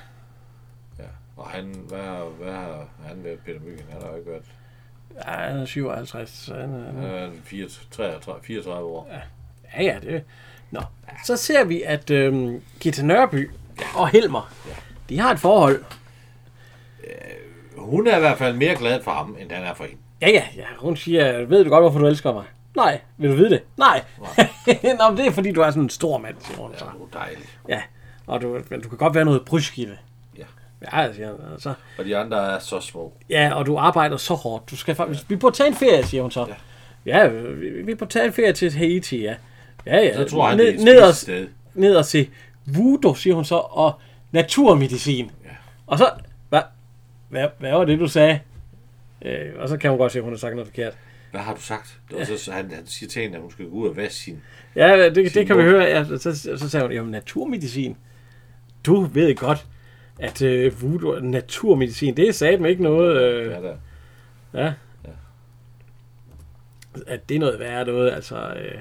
[SPEAKER 2] Ja. Og han, hvad, har- hvad har han været Peter Myggen? Han har jo ikke været.
[SPEAKER 1] ja, han er 57. Så han er,
[SPEAKER 2] Han har været 4 33, 34 år. Ja.
[SPEAKER 1] Ja, ja, det... Nå, så ser vi, at øhm, Gita Nørby og Helmer, de har et forhold.
[SPEAKER 2] Hun er i hvert fald mere glad for ham, end han er for hende.
[SPEAKER 1] Ja, ja, ja. Hun siger, ved du godt, hvorfor du elsker mig? Nej. Vil du vide det? Nej. Nå, men det er, fordi du er sådan en stor mand, siger hun.
[SPEAKER 2] Ja,
[SPEAKER 1] Ja.
[SPEAKER 2] det er dejligt.
[SPEAKER 1] ja. Og du, men du kan godt være noget brysk i det.
[SPEAKER 2] Ja.
[SPEAKER 1] Ja, siger hun. Og Så,
[SPEAKER 2] Og de andre er så små.
[SPEAKER 1] ja, og du arbejder så hårdt. Du skal faktisk... Vi burde tage en ferie, siger hun så. Ja, ja vi, vi burde tage en ferie til Haiti, ja. Ja, ja.
[SPEAKER 2] Så tror han, det er et
[SPEAKER 1] ned,
[SPEAKER 2] skidt
[SPEAKER 1] og,
[SPEAKER 2] sted.
[SPEAKER 1] ned og se voodoo, siger hun så, og naturmedicin. Ja. Og så... Hvad, hvad, hvad var det, du sagde? Øh, og så kan hun godt se, at hun har sagt noget forkert.
[SPEAKER 2] Hvad har du sagt? Og så, så han, han siger til hende, at hun skal gå ud og vaske sin...
[SPEAKER 1] Ja, det, det kan vi
[SPEAKER 2] mor.
[SPEAKER 1] høre. Ja, så, så, så sagde hun, jamen naturmedicin. Du ved godt, at øh, voodoo, naturmedicin, det er satme ikke noget, øh,
[SPEAKER 2] Ja, der.
[SPEAKER 1] at det er noget værre noget. Altså, øh,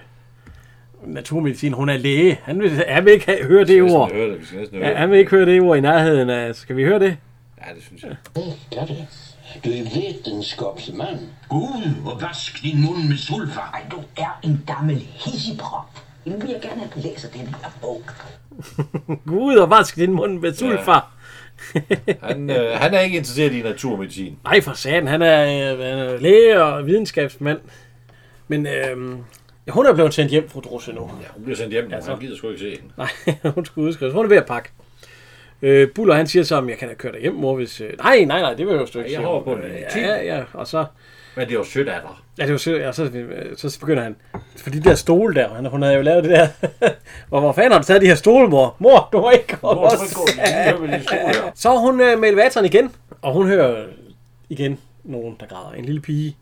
[SPEAKER 1] naturmedicin, hun er læge. Han vil, han vil ikke have, høre det
[SPEAKER 2] Vi skal næsten
[SPEAKER 1] ord.
[SPEAKER 2] høre det. Vi skal næsten høre
[SPEAKER 1] Ja,
[SPEAKER 2] det.
[SPEAKER 1] han vil ikke høre det ord i nærheden af, skal vi høre det?
[SPEAKER 2] Ja, det synes jeg.
[SPEAKER 6] Gør det. Du er videnskabsmand. Ud og vask din mund med sulfa.
[SPEAKER 9] Ej, du er en gammel hissiprop. Nu vil jeg gerne, at du læser den her bog.
[SPEAKER 1] Gå ud og vask din mund med sulfar.
[SPEAKER 2] Han, øh, han er ikke interesseret i naturmedicin.
[SPEAKER 1] Nej, for satan, han er, øh, han er læge og videnskabsmand. Men øh, ja, hun er blevet sendt hjem, fru Drusse, nu.
[SPEAKER 2] Ja, hun bliver sendt hjem nu.
[SPEAKER 1] Ja, så.
[SPEAKER 2] Han gider sgu ikke se hende.
[SPEAKER 1] Nej, hun skulle udskrives. Hun er ved at pakke. Øh, Buller, han siger så, at jeg kan da køre dig hjem, mor, hvis... Øh, nej, nej, nej, det vil jeg jo stykke.
[SPEAKER 2] jeg håber på, at det er
[SPEAKER 1] ja, ja, ja, og så...
[SPEAKER 2] Men det er jo sødt af dig.
[SPEAKER 1] Ja, det var sødt, og så, øh, så begynder han... For de der stole der, han, hun havde jo lavet det der... hvor, hvor fanden har du taget de her stole, mor? Mor, du må ikke komme
[SPEAKER 2] Hvor
[SPEAKER 1] os.
[SPEAKER 2] skal gå? Jeg vil lige stå her.
[SPEAKER 1] Så er hun øh, med elevatoren igen, og hun hører igen nogen, der græder. En lille pige,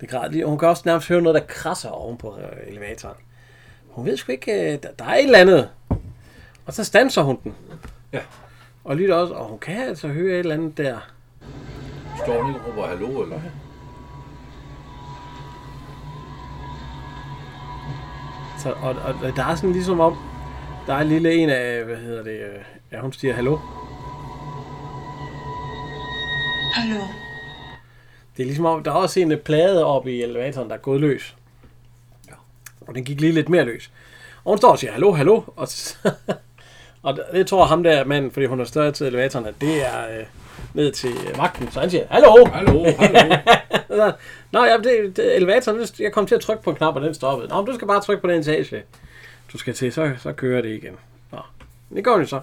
[SPEAKER 1] der græder. Og hun kan også nærmest høre noget, der krasser oven på øh, elevatoren. Hun ved sgu ikke, øh, der, der er et eller andet. Og så stanser hun den.
[SPEAKER 2] Ja.
[SPEAKER 1] Og lytter også, og hun kan altså høre et eller andet der.
[SPEAKER 2] Står hun ikke og råber hallo, eller hvad?
[SPEAKER 1] Så, og, og, og der er sådan ligesom om, der er en lille en af, hvad hedder det, øh, ja, hun siger hallo.
[SPEAKER 5] Hallo.
[SPEAKER 1] Det er ligesom om, der er også en øh, plade oppe i elevatoren, der er gået løs. Og den gik lige lidt mere løs. Og hun står og siger, hallo, hallo. Og, så, og det- det tror ham der manden, fordi hun har større til elevatoren, at det er øh, ned til øh, vagten. Så han siger, hallo.
[SPEAKER 2] Hallo, hallo.
[SPEAKER 1] Så, Nå, ja, det, det, elevatoren, den- jeg kom til at trykke på en knap, og den stoppede. Nå, men du skal bare trykke på den etage. Du skal til, så, så kører det igen. Nå, men det går hun jo så.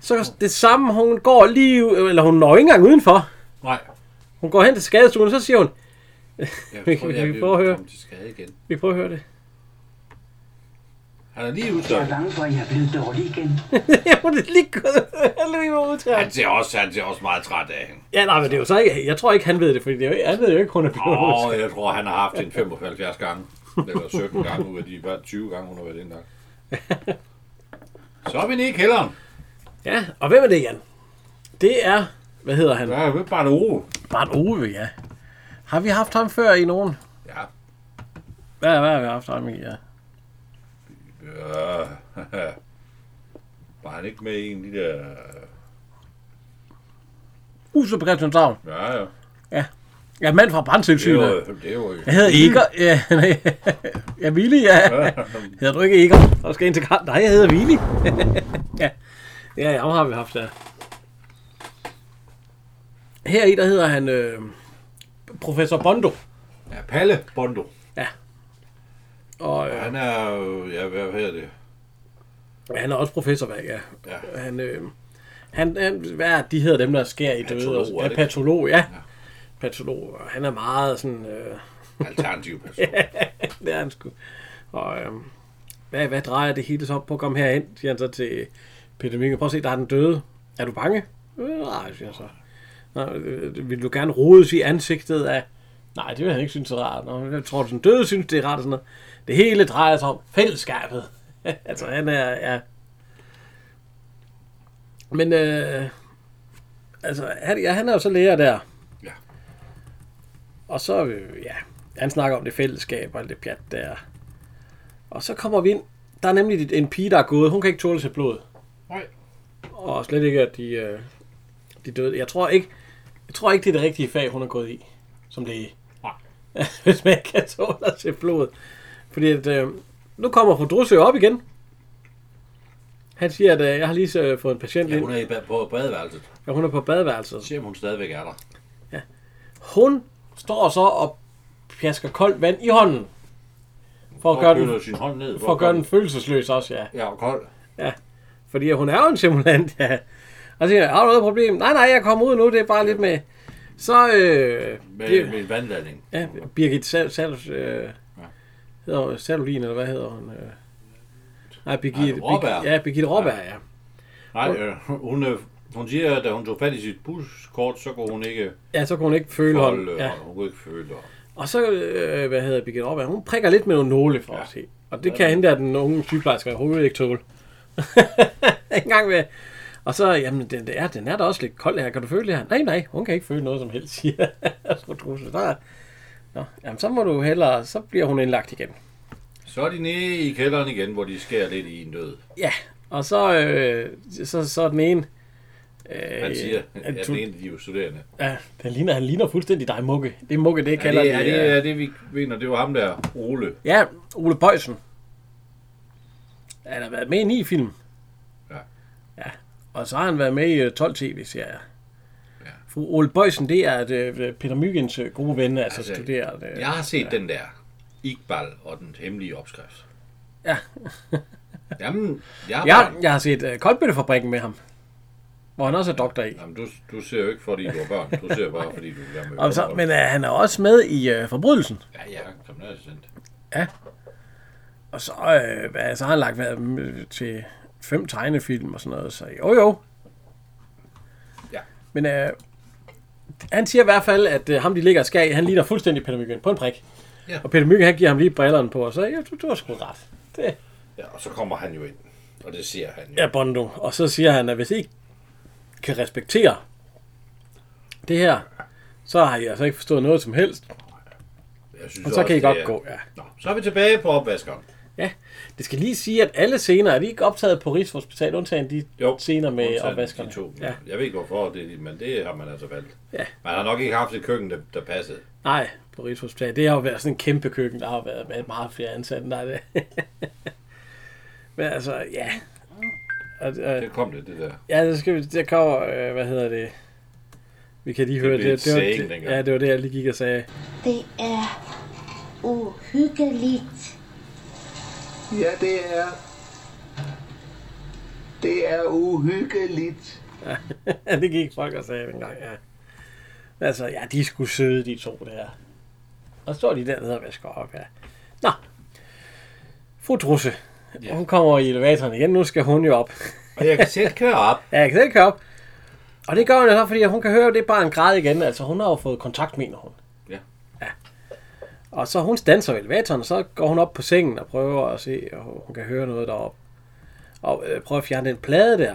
[SPEAKER 1] Så det samme, hun går lige, u- eller hun når ikke engang udenfor.
[SPEAKER 2] Nej.
[SPEAKER 1] Hun går hen til skadestuen, så siger hun,
[SPEAKER 2] Jeg
[SPEAKER 1] Vi-
[SPEAKER 2] tror,
[SPEAKER 1] vi-
[SPEAKER 2] jeg
[SPEAKER 1] vi
[SPEAKER 2] vil
[SPEAKER 1] prøver at høre.
[SPEAKER 2] komme til skade igen.
[SPEAKER 1] vi prøver at høre det.
[SPEAKER 2] Han er lige
[SPEAKER 8] Jeg er
[SPEAKER 2] udstoppet.
[SPEAKER 8] bange for, at jeg er blevet dårlig igen.
[SPEAKER 1] Ja, hun er lige gået halvdelen ud til ham.
[SPEAKER 2] Han ser også, han ser også meget træt af hende.
[SPEAKER 1] Ja, nej, men det er jo så ikke, jeg tror ikke, han ved det, fordi det er jo, han ved jo ikke, hun er blevet
[SPEAKER 2] Åh,
[SPEAKER 1] oh,
[SPEAKER 2] jeg tror, han har haft en 75 gange. Eller 17 gange ud af de hver 20 gange, hun har været indlagt. Så er vi nede i kælderen.
[SPEAKER 1] Ja, og hvem er det igen? Det er, hvad hedder han?
[SPEAKER 2] Der er jo bare ro.
[SPEAKER 1] Bart Ove, ja. Har vi haft ham før i nogen?
[SPEAKER 2] Ja.
[SPEAKER 1] Hvad, hvad har vi haft ham i, ja?
[SPEAKER 2] ja. øh, Var han ikke med i en af de der...
[SPEAKER 1] Huset på Christianshavn.
[SPEAKER 2] Ja, ja.
[SPEAKER 1] Ja, mand fra
[SPEAKER 2] Det er
[SPEAKER 1] brandtilsynet.
[SPEAKER 2] jo... Det er jo...
[SPEAKER 1] Jeg hedder Eger. Ja, nej. Jeg er Willy, ja. Hedder du ikke Eger? Så skal jeg ind til kamp. Nej, jeg hedder Willy. ja. Ja, ja, ham har vi haft, ja. Her i, der hedder han øh, Professor Bondo.
[SPEAKER 2] Ja, Palle Bondo.
[SPEAKER 1] Og øh,
[SPEAKER 2] Han er jo... Ja, hvad hedder det?
[SPEAKER 1] han er også professor, hvad, ja.
[SPEAKER 2] Ja.
[SPEAKER 1] Han, øh, han, han, hvad er, de hedder dem, der skærer i døde?
[SPEAKER 2] Patolog,
[SPEAKER 1] og-
[SPEAKER 2] er
[SPEAKER 1] Ja,
[SPEAKER 2] det?
[SPEAKER 1] patolog, ja. Patolog. og Han er meget sådan... Øh,
[SPEAKER 2] Alternativ person.
[SPEAKER 1] Det er han sgu. Og øhm, hvad, hvad drejer det hele så op på? Kom herind, siger han så til Peter Minge. Prøv at se, der er den døde. Er du bange? Øh, nej, siger han så. Nå, øh, vil du gerne rodes i ansigtet af... Nej, det vil han ikke synes er rart. Nå, jeg tror, du den døde synes, det er rart. og Sådan noget. Det hele drejer sig om fællesskabet. altså, han er... Ja. Men øh, altså, han, ja, han er jo så lærer der.
[SPEAKER 2] Ja.
[SPEAKER 1] Og så, øh, ja, han snakker om det fællesskab og alt det pjat der. Og så kommer vi ind. Der er nemlig en pige, der er gået. Hun kan ikke tåle sit blod.
[SPEAKER 2] Nej.
[SPEAKER 1] Og slet ikke, at de, øh, de døde. Jeg tror ikke, jeg tror ikke, det er det rigtige fag, hun er gået i. Som læge. Nej. Hvis man ikke kan tåle at se blod. Fordi at, øh, nu kommer fru Drusse jo op igen. Han siger, at øh, jeg har lige øh, fået en patient
[SPEAKER 2] Ja,
[SPEAKER 1] ind.
[SPEAKER 2] hun er i ba- på badeværelset.
[SPEAKER 1] Ja, hun er på badeværelset.
[SPEAKER 2] Se, om hun stadigvæk er der.
[SPEAKER 1] Hun står så og pjasker koldt vand i hånden. For at
[SPEAKER 2] Og
[SPEAKER 1] gøre
[SPEAKER 2] knytter
[SPEAKER 1] den,
[SPEAKER 2] sin hånd ned.
[SPEAKER 1] for at gøre den følelsesløs også, ja.
[SPEAKER 2] Ja, og kold.
[SPEAKER 1] Fordi hun er jo en simulant, ja. Og så siger jeg, har du noget problem? Nej, nej, jeg kommer ud nu, det er bare lidt med... Så, øh...
[SPEAKER 2] Med,
[SPEAKER 1] Bir-
[SPEAKER 2] med en vandladning.
[SPEAKER 1] ja, Birgit Sal... Sal øh,
[SPEAKER 2] Ja.
[SPEAKER 1] hedder hun, Salolin, eller hvad hedder hun? Øh, nej, Birgit...
[SPEAKER 2] Raaberg.
[SPEAKER 1] Birgit- Ja, Birgit Råberg, ja.
[SPEAKER 2] Nej, øh, hun, øh, hun siger, at da hun tog fat i sit buskort, så kunne hun ikke
[SPEAKER 1] Ja, så kunne hun ikke føle
[SPEAKER 2] holde,
[SPEAKER 1] hånden. Ja.
[SPEAKER 2] ja. hun kunne ikke føle og-
[SPEAKER 1] Og så, øh, hvad hedder Birgit Råberg, hun prikker lidt med nogle nåle for ja. at se. Og det kan hende der, den unge sygeplejerske, overhovedet ikke tåle. ikke engang med. Og så, jamen, den, der, den er da også lidt kold her. Kan du føle det her? Nej, nej, hun kan ikke føle noget som helst, siger fru Trusse. Der. Nå, jamen, så må du hellere, så bliver hun indlagt igen.
[SPEAKER 2] Så er de nede i kælderen igen, hvor de skærer lidt i en død.
[SPEAKER 1] Ja, og så, øh, så, så den ene, Øh,
[SPEAKER 2] Han siger,
[SPEAKER 1] at
[SPEAKER 2] at
[SPEAKER 1] du,
[SPEAKER 2] den ene af de er jo studerende.
[SPEAKER 1] ja, han, ligner, han ligner fuldstændig dig, Mugge. Det er Mugge, det
[SPEAKER 2] Er
[SPEAKER 1] kalder
[SPEAKER 2] det,
[SPEAKER 1] vi,
[SPEAKER 2] er det,
[SPEAKER 1] øh,
[SPEAKER 2] er det, vi vinder? Det var ham der, Ole.
[SPEAKER 1] Ja, Ole Bøjsen. Han har været med i ni film.
[SPEAKER 2] Ja.
[SPEAKER 1] ja. Og så har han været med i øh, 12 tv-serier.
[SPEAKER 2] Ja.
[SPEAKER 1] Fru Ole Bøjsen, det er øh, Peter Myggens øh, gode ven, altså,
[SPEAKER 2] Altså,
[SPEAKER 1] altså studerende.
[SPEAKER 2] Jeg har set den der, Iqbal og den hemmelige opskrift.
[SPEAKER 1] Ja.
[SPEAKER 2] Jamen, jeg,
[SPEAKER 1] Jeg, jeg har set øh, Koldbøttefabrikken med ham, hvor han også er doktor i.
[SPEAKER 2] Jamen, du, du ser jo ikke, fordi du er børn. Du ser bare, fordi du er gammel.
[SPEAKER 1] Og så, men øh, han er også med i øh, Forbrydelsen.
[SPEAKER 2] Ja, ja, kriminalassistent.
[SPEAKER 1] Og så, øh, hvad, så har han lagt været med til fem tegnefilm og sådan noget, så jo jo.
[SPEAKER 2] Ja.
[SPEAKER 1] Men øh, han siger i hvert fald, at øh, ham de ligger og skal i, han ligner fuldstændig Peter Myggen på en prik.
[SPEAKER 2] Ja.
[SPEAKER 1] Og Peter Myggen, han giver ham lige brillerne på, og så, ja, du, du har sgu ret. Det
[SPEAKER 2] Ja, og så kommer han jo ind. Og det ser han jo.
[SPEAKER 1] er Bondo. Og så siger han, at hvis I ikke kan respektere det her, så har I altså ikke forstået noget som helst.
[SPEAKER 2] Jeg synes
[SPEAKER 1] Og så kan I
[SPEAKER 2] også,
[SPEAKER 1] godt
[SPEAKER 2] det er-
[SPEAKER 1] gå, ja.
[SPEAKER 2] Nå, så er vi tilbage på opvaskeren.
[SPEAKER 1] Ja, det skal lige sige, at alle scener, er de ikke optaget på Rigshospitalet, undtagen de scener med
[SPEAKER 2] undtagen de
[SPEAKER 1] opvaskerne?
[SPEAKER 2] to.
[SPEAKER 1] Ja.
[SPEAKER 2] Jeg ved ikke, hvorfor, det, er de, men det har man altså valgt.
[SPEAKER 1] Ja.
[SPEAKER 2] Man har nok ikke haft et køkken, der, der passede.
[SPEAKER 1] Nej, på Rigshospitalet. Det har jo været sådan en kæmpe køkken, der har været med meget flere ansatte. Nej, det. Men altså, ja. Og, øh,
[SPEAKER 2] Det kom det, det der.
[SPEAKER 1] ja, det skal vi, der kommer, øh, hvad hedder det? Vi kan lige høre det.
[SPEAKER 2] blev
[SPEAKER 1] Det,
[SPEAKER 2] et
[SPEAKER 1] det, var,
[SPEAKER 2] saying
[SPEAKER 1] det
[SPEAKER 2] dengang.
[SPEAKER 1] ja, det var det, jeg lige gik og sagde.
[SPEAKER 5] Det er uhyggeligt.
[SPEAKER 4] Ja, det er... Det er uhyggeligt.
[SPEAKER 1] Ja, det gik folk og sagde dengang, ja. Men altså, ja, de skulle søde, de to der. Og så står de dernede og vasker op, ja. Nå. Fru Trusse. Ja. Hun kommer i elevatoren igen. Nu skal hun jo op.
[SPEAKER 2] Og jeg kan selv køre op.
[SPEAKER 1] Ja, jeg kan selv køre op. Og det gør hun jo så, fordi hun kan høre det barn græde igen. Altså, hun har jo fået kontakt, mener hun.
[SPEAKER 2] Ja.
[SPEAKER 1] ja. Og så hun standser ved elevatoren, og så går hun op på sengen og prøver at se, og hun kan høre noget deroppe. Og øh, prøver at fjerne den plade der,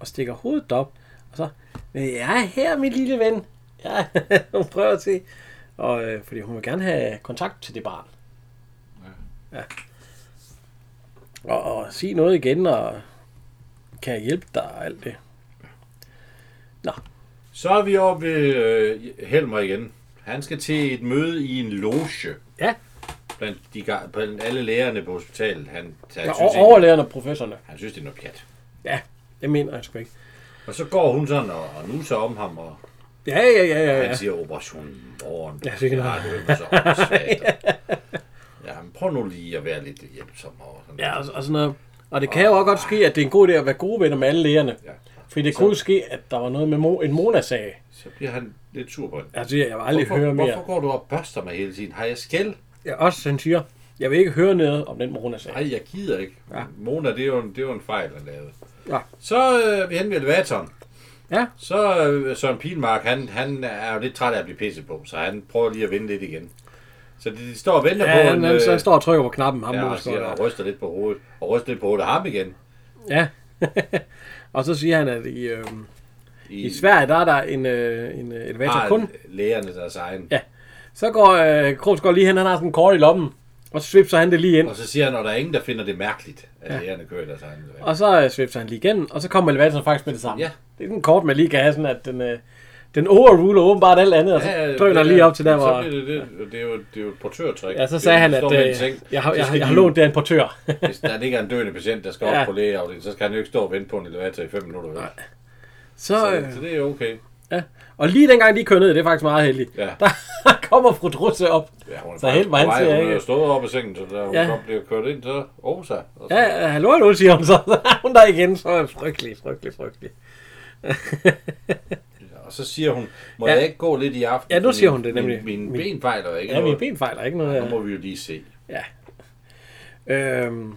[SPEAKER 1] og stikker hovedet op. Og så, "Men jeg er her, min lille ven. Ja, hun prøver at se. Og, øh, fordi hun vil gerne have kontakt til det barn. Ja. ja. Og, og sige noget igen, og kan jeg hjælpe dig og alt det.
[SPEAKER 2] Så er vi oppe ved øh, Helmer igen. Han skal til et møde i en loge.
[SPEAKER 1] Ja.
[SPEAKER 2] Blandt, de, ga- blandt alle lægerne på hospitalet. Han, han,
[SPEAKER 1] Ja,
[SPEAKER 2] synes,
[SPEAKER 1] og
[SPEAKER 2] ikke,
[SPEAKER 1] overlærerne og professorerne.
[SPEAKER 2] han synes, det er noget pjat.
[SPEAKER 1] Ja, det mener jeg sgu ikke.
[SPEAKER 2] Og så går hun sådan og, og nuser om ham, og
[SPEAKER 1] Ja, ja, ja, ja.
[SPEAKER 2] han
[SPEAKER 1] ja.
[SPEAKER 2] siger operationen morgen.
[SPEAKER 1] Ja, det kan
[SPEAKER 2] Ja,
[SPEAKER 1] jeg.
[SPEAKER 2] det er jo så åndssvagt. Ja, men prøv nu lige at være lidt hjælpsom. Og sådan.
[SPEAKER 1] ja og, og, sådan noget. Og det kan jo også godt ske, at det er en god idé at være gode venner med alle lægerne.
[SPEAKER 2] Ja.
[SPEAKER 1] Fordi det kunne jo ske, at der var noget med Mo, en Mona sagde.
[SPEAKER 2] Så bliver han lidt sur på hende.
[SPEAKER 1] Altså, jeg vil aldrig høre mere.
[SPEAKER 2] hvorfor går du og børster mig hele tiden? Har jeg skæld?
[SPEAKER 1] Jeg også, han siger, jeg vil ikke høre noget om den Mona sag.
[SPEAKER 2] Nej, jeg gider ikke. Ja. Mona, det er jo en, det er jo en fejl, han lavede.
[SPEAKER 1] Ja.
[SPEAKER 2] Så øh, er vi hen ved elevatoren.
[SPEAKER 1] Ja.
[SPEAKER 2] Så øh, Søren Pilmark, han, han er jo lidt træt af at blive pisset på, så han prøver lige at vende lidt igen. Så de, de står og venter
[SPEAKER 1] Ja,
[SPEAKER 2] på
[SPEAKER 1] han,
[SPEAKER 2] en,
[SPEAKER 1] han,
[SPEAKER 2] øh,
[SPEAKER 1] han, står og trykker på knappen, ham
[SPEAKER 2] ja,
[SPEAKER 1] ja,
[SPEAKER 2] og, siger, og ryster lidt på hovedet. Og ryster lidt på hovedet af ham igen.
[SPEAKER 1] Ja. og så siger han, at i, øh,
[SPEAKER 2] I,
[SPEAKER 1] i
[SPEAKER 2] Ah,
[SPEAKER 1] Sverige, der er der en, øh, en øh, elevator
[SPEAKER 2] har
[SPEAKER 1] kun.
[SPEAKER 2] lægerne deres egen.
[SPEAKER 1] Ja. Så går øh, Krogsgaard lige hen, han har sådan en kort i lommen. Og så svipser han det lige ind.
[SPEAKER 2] Og så siger han, at der er ingen, der finder det mærkeligt, at ja. lægerne kører i deres egen.
[SPEAKER 1] Og så øh, svipser han lige igennem, og så kommer elevatoren faktisk med det samme.
[SPEAKER 2] Ja.
[SPEAKER 1] Det er den kort, man lige kan have, sådan at den, øh, den overruler åbenbart alt andet, og så ja, drøner
[SPEAKER 2] det-
[SPEAKER 1] lige op til der, hvor...
[SPEAKER 2] Så bliver det, det, det, er jo, det er jo et portørtræk.
[SPEAKER 1] Ja, så sagde han, at
[SPEAKER 2] øh,
[SPEAKER 1] øh, jeg, har, jeg, har- jeg har lånt det af en portør.
[SPEAKER 2] Hvis der ligger en døende patient, der skal op
[SPEAKER 1] Ja.
[SPEAKER 2] på lægeafdelingen, så skal han jo ikke stå og vente på en elevator i 5 minutter. vel?
[SPEAKER 1] så, øh,
[SPEAKER 2] Så, så det er okay.
[SPEAKER 1] ja. Og lige dengang de kører ned, det er faktisk meget heldigt,
[SPEAKER 2] Ja.
[SPEAKER 1] der kommer fru Drusse op.
[SPEAKER 2] Ja, hun er
[SPEAKER 1] så helt mig, han
[SPEAKER 2] han
[SPEAKER 1] siger
[SPEAKER 2] Hun er jo
[SPEAKER 1] ikke.
[SPEAKER 2] stået op i sengen, så da hun
[SPEAKER 1] Ja.
[SPEAKER 2] ja. kom, blev kørt ind, så Rosa. Og så,
[SPEAKER 1] Ja, ja, hallo, hallo, siger hun så. Så er hun der igen, så er det frygtelig, frygtelig, frygtelig.
[SPEAKER 2] og så siger hun, må
[SPEAKER 1] Ja.
[SPEAKER 2] ja. jeg ikke gå lidt i aften?
[SPEAKER 1] Ja, nu
[SPEAKER 2] Fordi
[SPEAKER 1] siger hun det nemlig.
[SPEAKER 2] Min, min ben fejler jo ikke
[SPEAKER 1] Ja, mine
[SPEAKER 2] noget.
[SPEAKER 1] ben fejler ikke noget.
[SPEAKER 2] Nu
[SPEAKER 1] Ja.
[SPEAKER 2] må vi jo lige se.
[SPEAKER 1] ja. Øhm,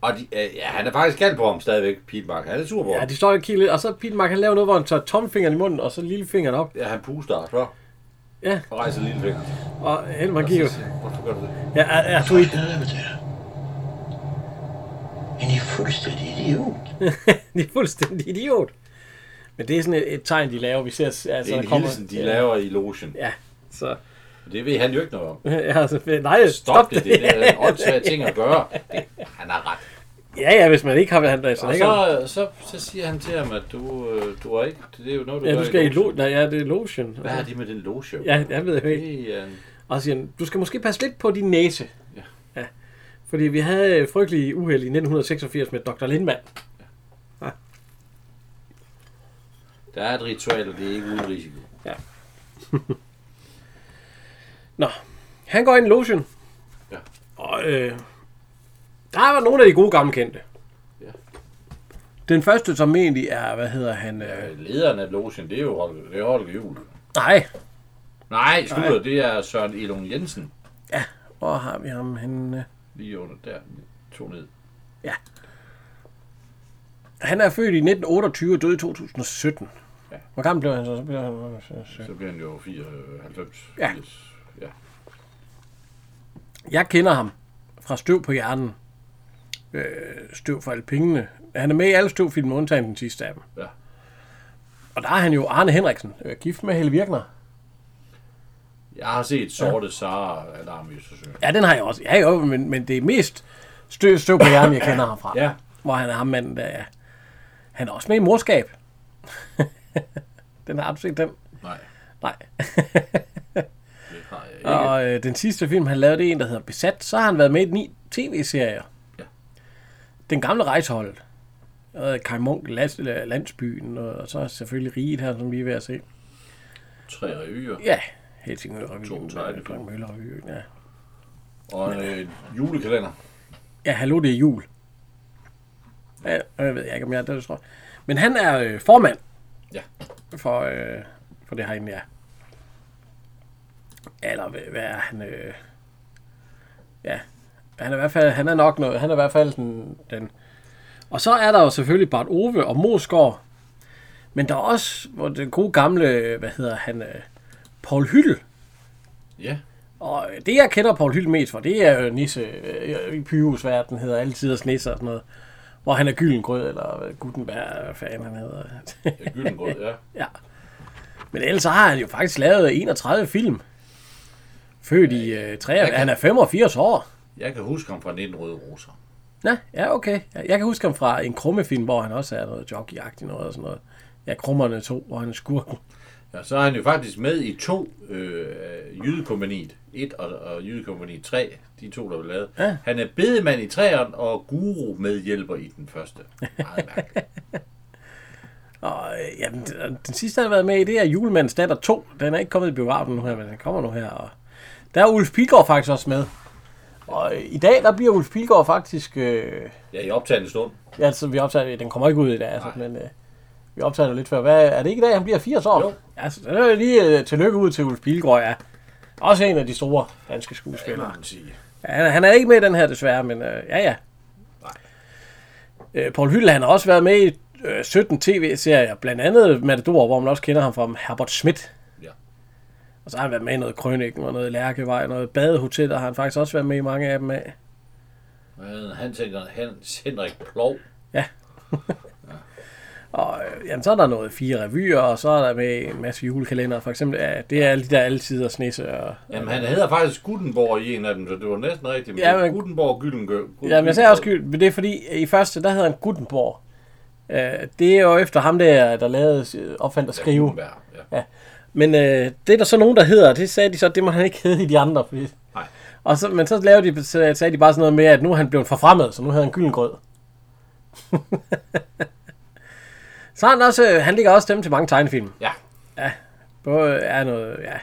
[SPEAKER 2] Og de, øh, ja, han er faktisk galt på ham stadigvæk, Pilmark. Han er sur på
[SPEAKER 1] ja,
[SPEAKER 2] ham.
[SPEAKER 1] de står og kigger lidt, og så Pilmark, han laver noget, hvor han tager tomfingeren i munden, og så lillefingeren op.
[SPEAKER 2] Ja, han puster og så.
[SPEAKER 1] Ja.
[SPEAKER 2] Og rejser lille finger.
[SPEAKER 1] Og Helmer gik jo.
[SPEAKER 2] Så siger han, Hvorfor gør du det?
[SPEAKER 1] Ja, er, er du i...
[SPEAKER 6] helvede til dig. Men I er fuldstændig idiot.
[SPEAKER 1] de er fuldstændig idiot. Men det er sådan et, et tegn, de laver. Vi ser, altså,
[SPEAKER 2] Det er en
[SPEAKER 1] der kommer,
[SPEAKER 2] hilsen, de laver i logen.
[SPEAKER 1] Ja, så...
[SPEAKER 2] Det ved han jo ikke noget om.
[SPEAKER 1] Ja, altså, nej, stop,
[SPEAKER 2] Stop det, det, det er en åndssvag ting at gøre. Det, han har ret.
[SPEAKER 1] Ja, ja, hvis man ikke har været der, så
[SPEAKER 2] Og
[SPEAKER 1] ikke.
[SPEAKER 2] så, øh, så, så siger han til ham, at du, øh, du er ikke... Det er jo noget, du
[SPEAKER 1] Ja,
[SPEAKER 2] gør
[SPEAKER 1] du skal i
[SPEAKER 2] lotion.
[SPEAKER 1] lo- Nej, ja, det er lotion.
[SPEAKER 2] Hvad har det med den loge?
[SPEAKER 1] Ja, jeg ved ikke.
[SPEAKER 2] Det er en-
[SPEAKER 1] Og så siger han, du skal måske passe lidt på din næse. Ja. ja. Fordi vi havde et frygteligt uheld i 1986 med Dr. Lindmann.
[SPEAKER 2] Der er et ritual, og det er ikke uden risiko.
[SPEAKER 1] Nå, han går i en lotion.
[SPEAKER 2] Ja.
[SPEAKER 1] Og øh, der var nogle af de gode gamle kendte.
[SPEAKER 2] Ja.
[SPEAKER 1] Den første, som egentlig er, hvad hedder han? Øh,
[SPEAKER 2] Øh, Lederen af logen, det er jo Holger, det er Holger Juhl.
[SPEAKER 1] nej,
[SPEAKER 2] Nej, slutter, det er Søren Elon Jensen.
[SPEAKER 1] hvor har vi ham henne?
[SPEAKER 2] Lige under der. To ned.
[SPEAKER 1] Han er født i 1928 og døde i 2017.
[SPEAKER 2] Ja.
[SPEAKER 1] Hvor gammel blev han så? så blev han...
[SPEAKER 2] Så bliver han jo 94.
[SPEAKER 1] Ja.
[SPEAKER 2] 80. ja.
[SPEAKER 1] Jeg kender ham fra Støv på hjernen. Øh, støv for alle pengene. Han er med i alle støvfilm, undtagen den sidste af dem.
[SPEAKER 2] Ja.
[SPEAKER 1] Og der er han jo Arne Henriksen, øh, gift med Helle Virkner.
[SPEAKER 2] Jeg har set sorte ja. Sara alarm i Østersøen.
[SPEAKER 1] Ja, den har jeg også. Ja, jo, men, men det er mest støv, støv på hjernen, jeg kender ham fra.
[SPEAKER 2] Ja.
[SPEAKER 1] Hvor han er ham manden, der er. Han er også med i morskab. den har du set den?
[SPEAKER 2] Nej,
[SPEAKER 1] Nej.
[SPEAKER 2] det har jeg ikke.
[SPEAKER 1] Og øh, den sidste film, han lavede, det er en, der hedder Besat. Så har han været med i ni tv-serier.
[SPEAKER 2] Ja.
[SPEAKER 1] Den gamle rejsehold. Og øh, Kai Munk, Las- øh, Landsbyen, og, og så selvfølgelig Riget her, som vi er ved at se.
[SPEAKER 2] Tre revyer.
[SPEAKER 1] Ja, Helsingør Revyen.
[SPEAKER 2] To
[SPEAKER 1] med
[SPEAKER 2] tegnefilm.
[SPEAKER 1] Frank Møller Revyen, ja.
[SPEAKER 2] Og en øh, julekalender.
[SPEAKER 1] Ja, hallo, det er jul. Ja, jeg ved ikke, om jeg er det, tror. jeg. Men han er øh, formand
[SPEAKER 2] Ja.
[SPEAKER 1] for, øh, for det herinde, ja. Eller hvad hvad er han? Øh, ja, han er i hvert fald, han er nok noget. Han er i hvert fald den, den. Og så er der jo selvfølgelig Bart Ove og Mosgaard. Men der er også hvor den gode gamle, øh, hvad hedder han, øh, Paul Hyttel.
[SPEAKER 2] Ja.
[SPEAKER 1] Og øh, det, jeg kender Paul Hyld mest for, det er jo Nisse øh, i Pyrusverden, hedder altid og Nisse og sådan noget. Hvor han er Gyllengrød, eller hvad Gutenberg, hvad fanden han hedder.
[SPEAKER 2] ja Gyldengrød, ja.
[SPEAKER 1] ja. Men ellers så har han jo faktisk lavet 31 film. Født i øh, 3,
[SPEAKER 2] Jeg kan-
[SPEAKER 1] han er 85 år.
[SPEAKER 2] Jeg kan huske ham fra 19 Røde Roser.
[SPEAKER 1] Ja, ja, okay. Ja, Jeg kan huske ham fra en krummefilm, hvor han også er noget jockeyagtigt noget og sådan noget. Ja, krummerne to, hvor han er skurken.
[SPEAKER 2] Ja, så er han jo faktisk med i to øh, Jydekompaniet. 1 og, og Jydekompaniet 3, de to, der blev lavet.
[SPEAKER 1] Ja.
[SPEAKER 2] Han er bedemand i træeren og guru medhjælper i den første. Meget mærkeligt.
[SPEAKER 1] Og øh, jamen, den, den sidste, han har været med i, det er Julemandens datter 2. Den er ikke kommet i biografen nu her, men den kommer nu her. Og der er Ulf Pilgaard faktisk også med. Og øh, i dag, der bliver Ulf Pilgaard faktisk... Øh,
[SPEAKER 2] Ja, i optagende stund.
[SPEAKER 1] ja, altså, vi optager, den kommer ikke ud i dag, altså, men øh, vi optager det lidt før. Hvad, er det ikke i dag, han bliver 80 år?
[SPEAKER 2] Jo.
[SPEAKER 1] Altså, det er jo lige øh, tillykke ud til Ulf Pilgaard, ja. Også en af de store danske skuespillere.
[SPEAKER 2] man sige.
[SPEAKER 1] Ja, han, han er ikke med i den her desværre, men øh, ja, ja. Øh, Paul Hyll, han har også været med i øh, 17 tv-serier, blandt andet Matador, hvor man også kender ham fra Herbert Schmidt.
[SPEAKER 2] Ja.
[SPEAKER 1] Og så har han været med i noget Krøniken og noget Lærkevej og noget Badehotel, og har han faktisk også været med i mange af dem af.
[SPEAKER 2] Men Hans Henrik, Hans Henrik Plov.
[SPEAKER 1] Og øh, jamen, så er der noget fire revyer, og så er der med en masse julekalender, for eksempel. Ja, det er alle de der altid og snisse. Og,
[SPEAKER 2] Jamen, han hedder faktisk Gutenborg i en af dem, så det var næsten rigtigt. Men
[SPEAKER 1] Ja,
[SPEAKER 2] ja, men...
[SPEAKER 1] men-
[SPEAKER 2] Gutenborg Gyldengø.
[SPEAKER 1] Jamen, jeg sagde også skyld, men det er fordi, i første, der hedder han Gutenborg. Øh, det er jo efter ham der, der lavede, øh, opfandt at skrive.
[SPEAKER 2] Ja, ja.
[SPEAKER 1] Men øh, det er der så nogen, der hedder, det sagde de så, det må han ikke hedde i de andre. Fordi...
[SPEAKER 2] Nej.
[SPEAKER 1] Og så, men så, lavede de, så sagde de bare sådan noget med, at nu er han blevet forfremmet, så nu hedder han Gyllengrød. så har han også, øh, han ligger også stemme til mange tegnefilm.
[SPEAKER 2] ja.
[SPEAKER 1] Både er noget, ja,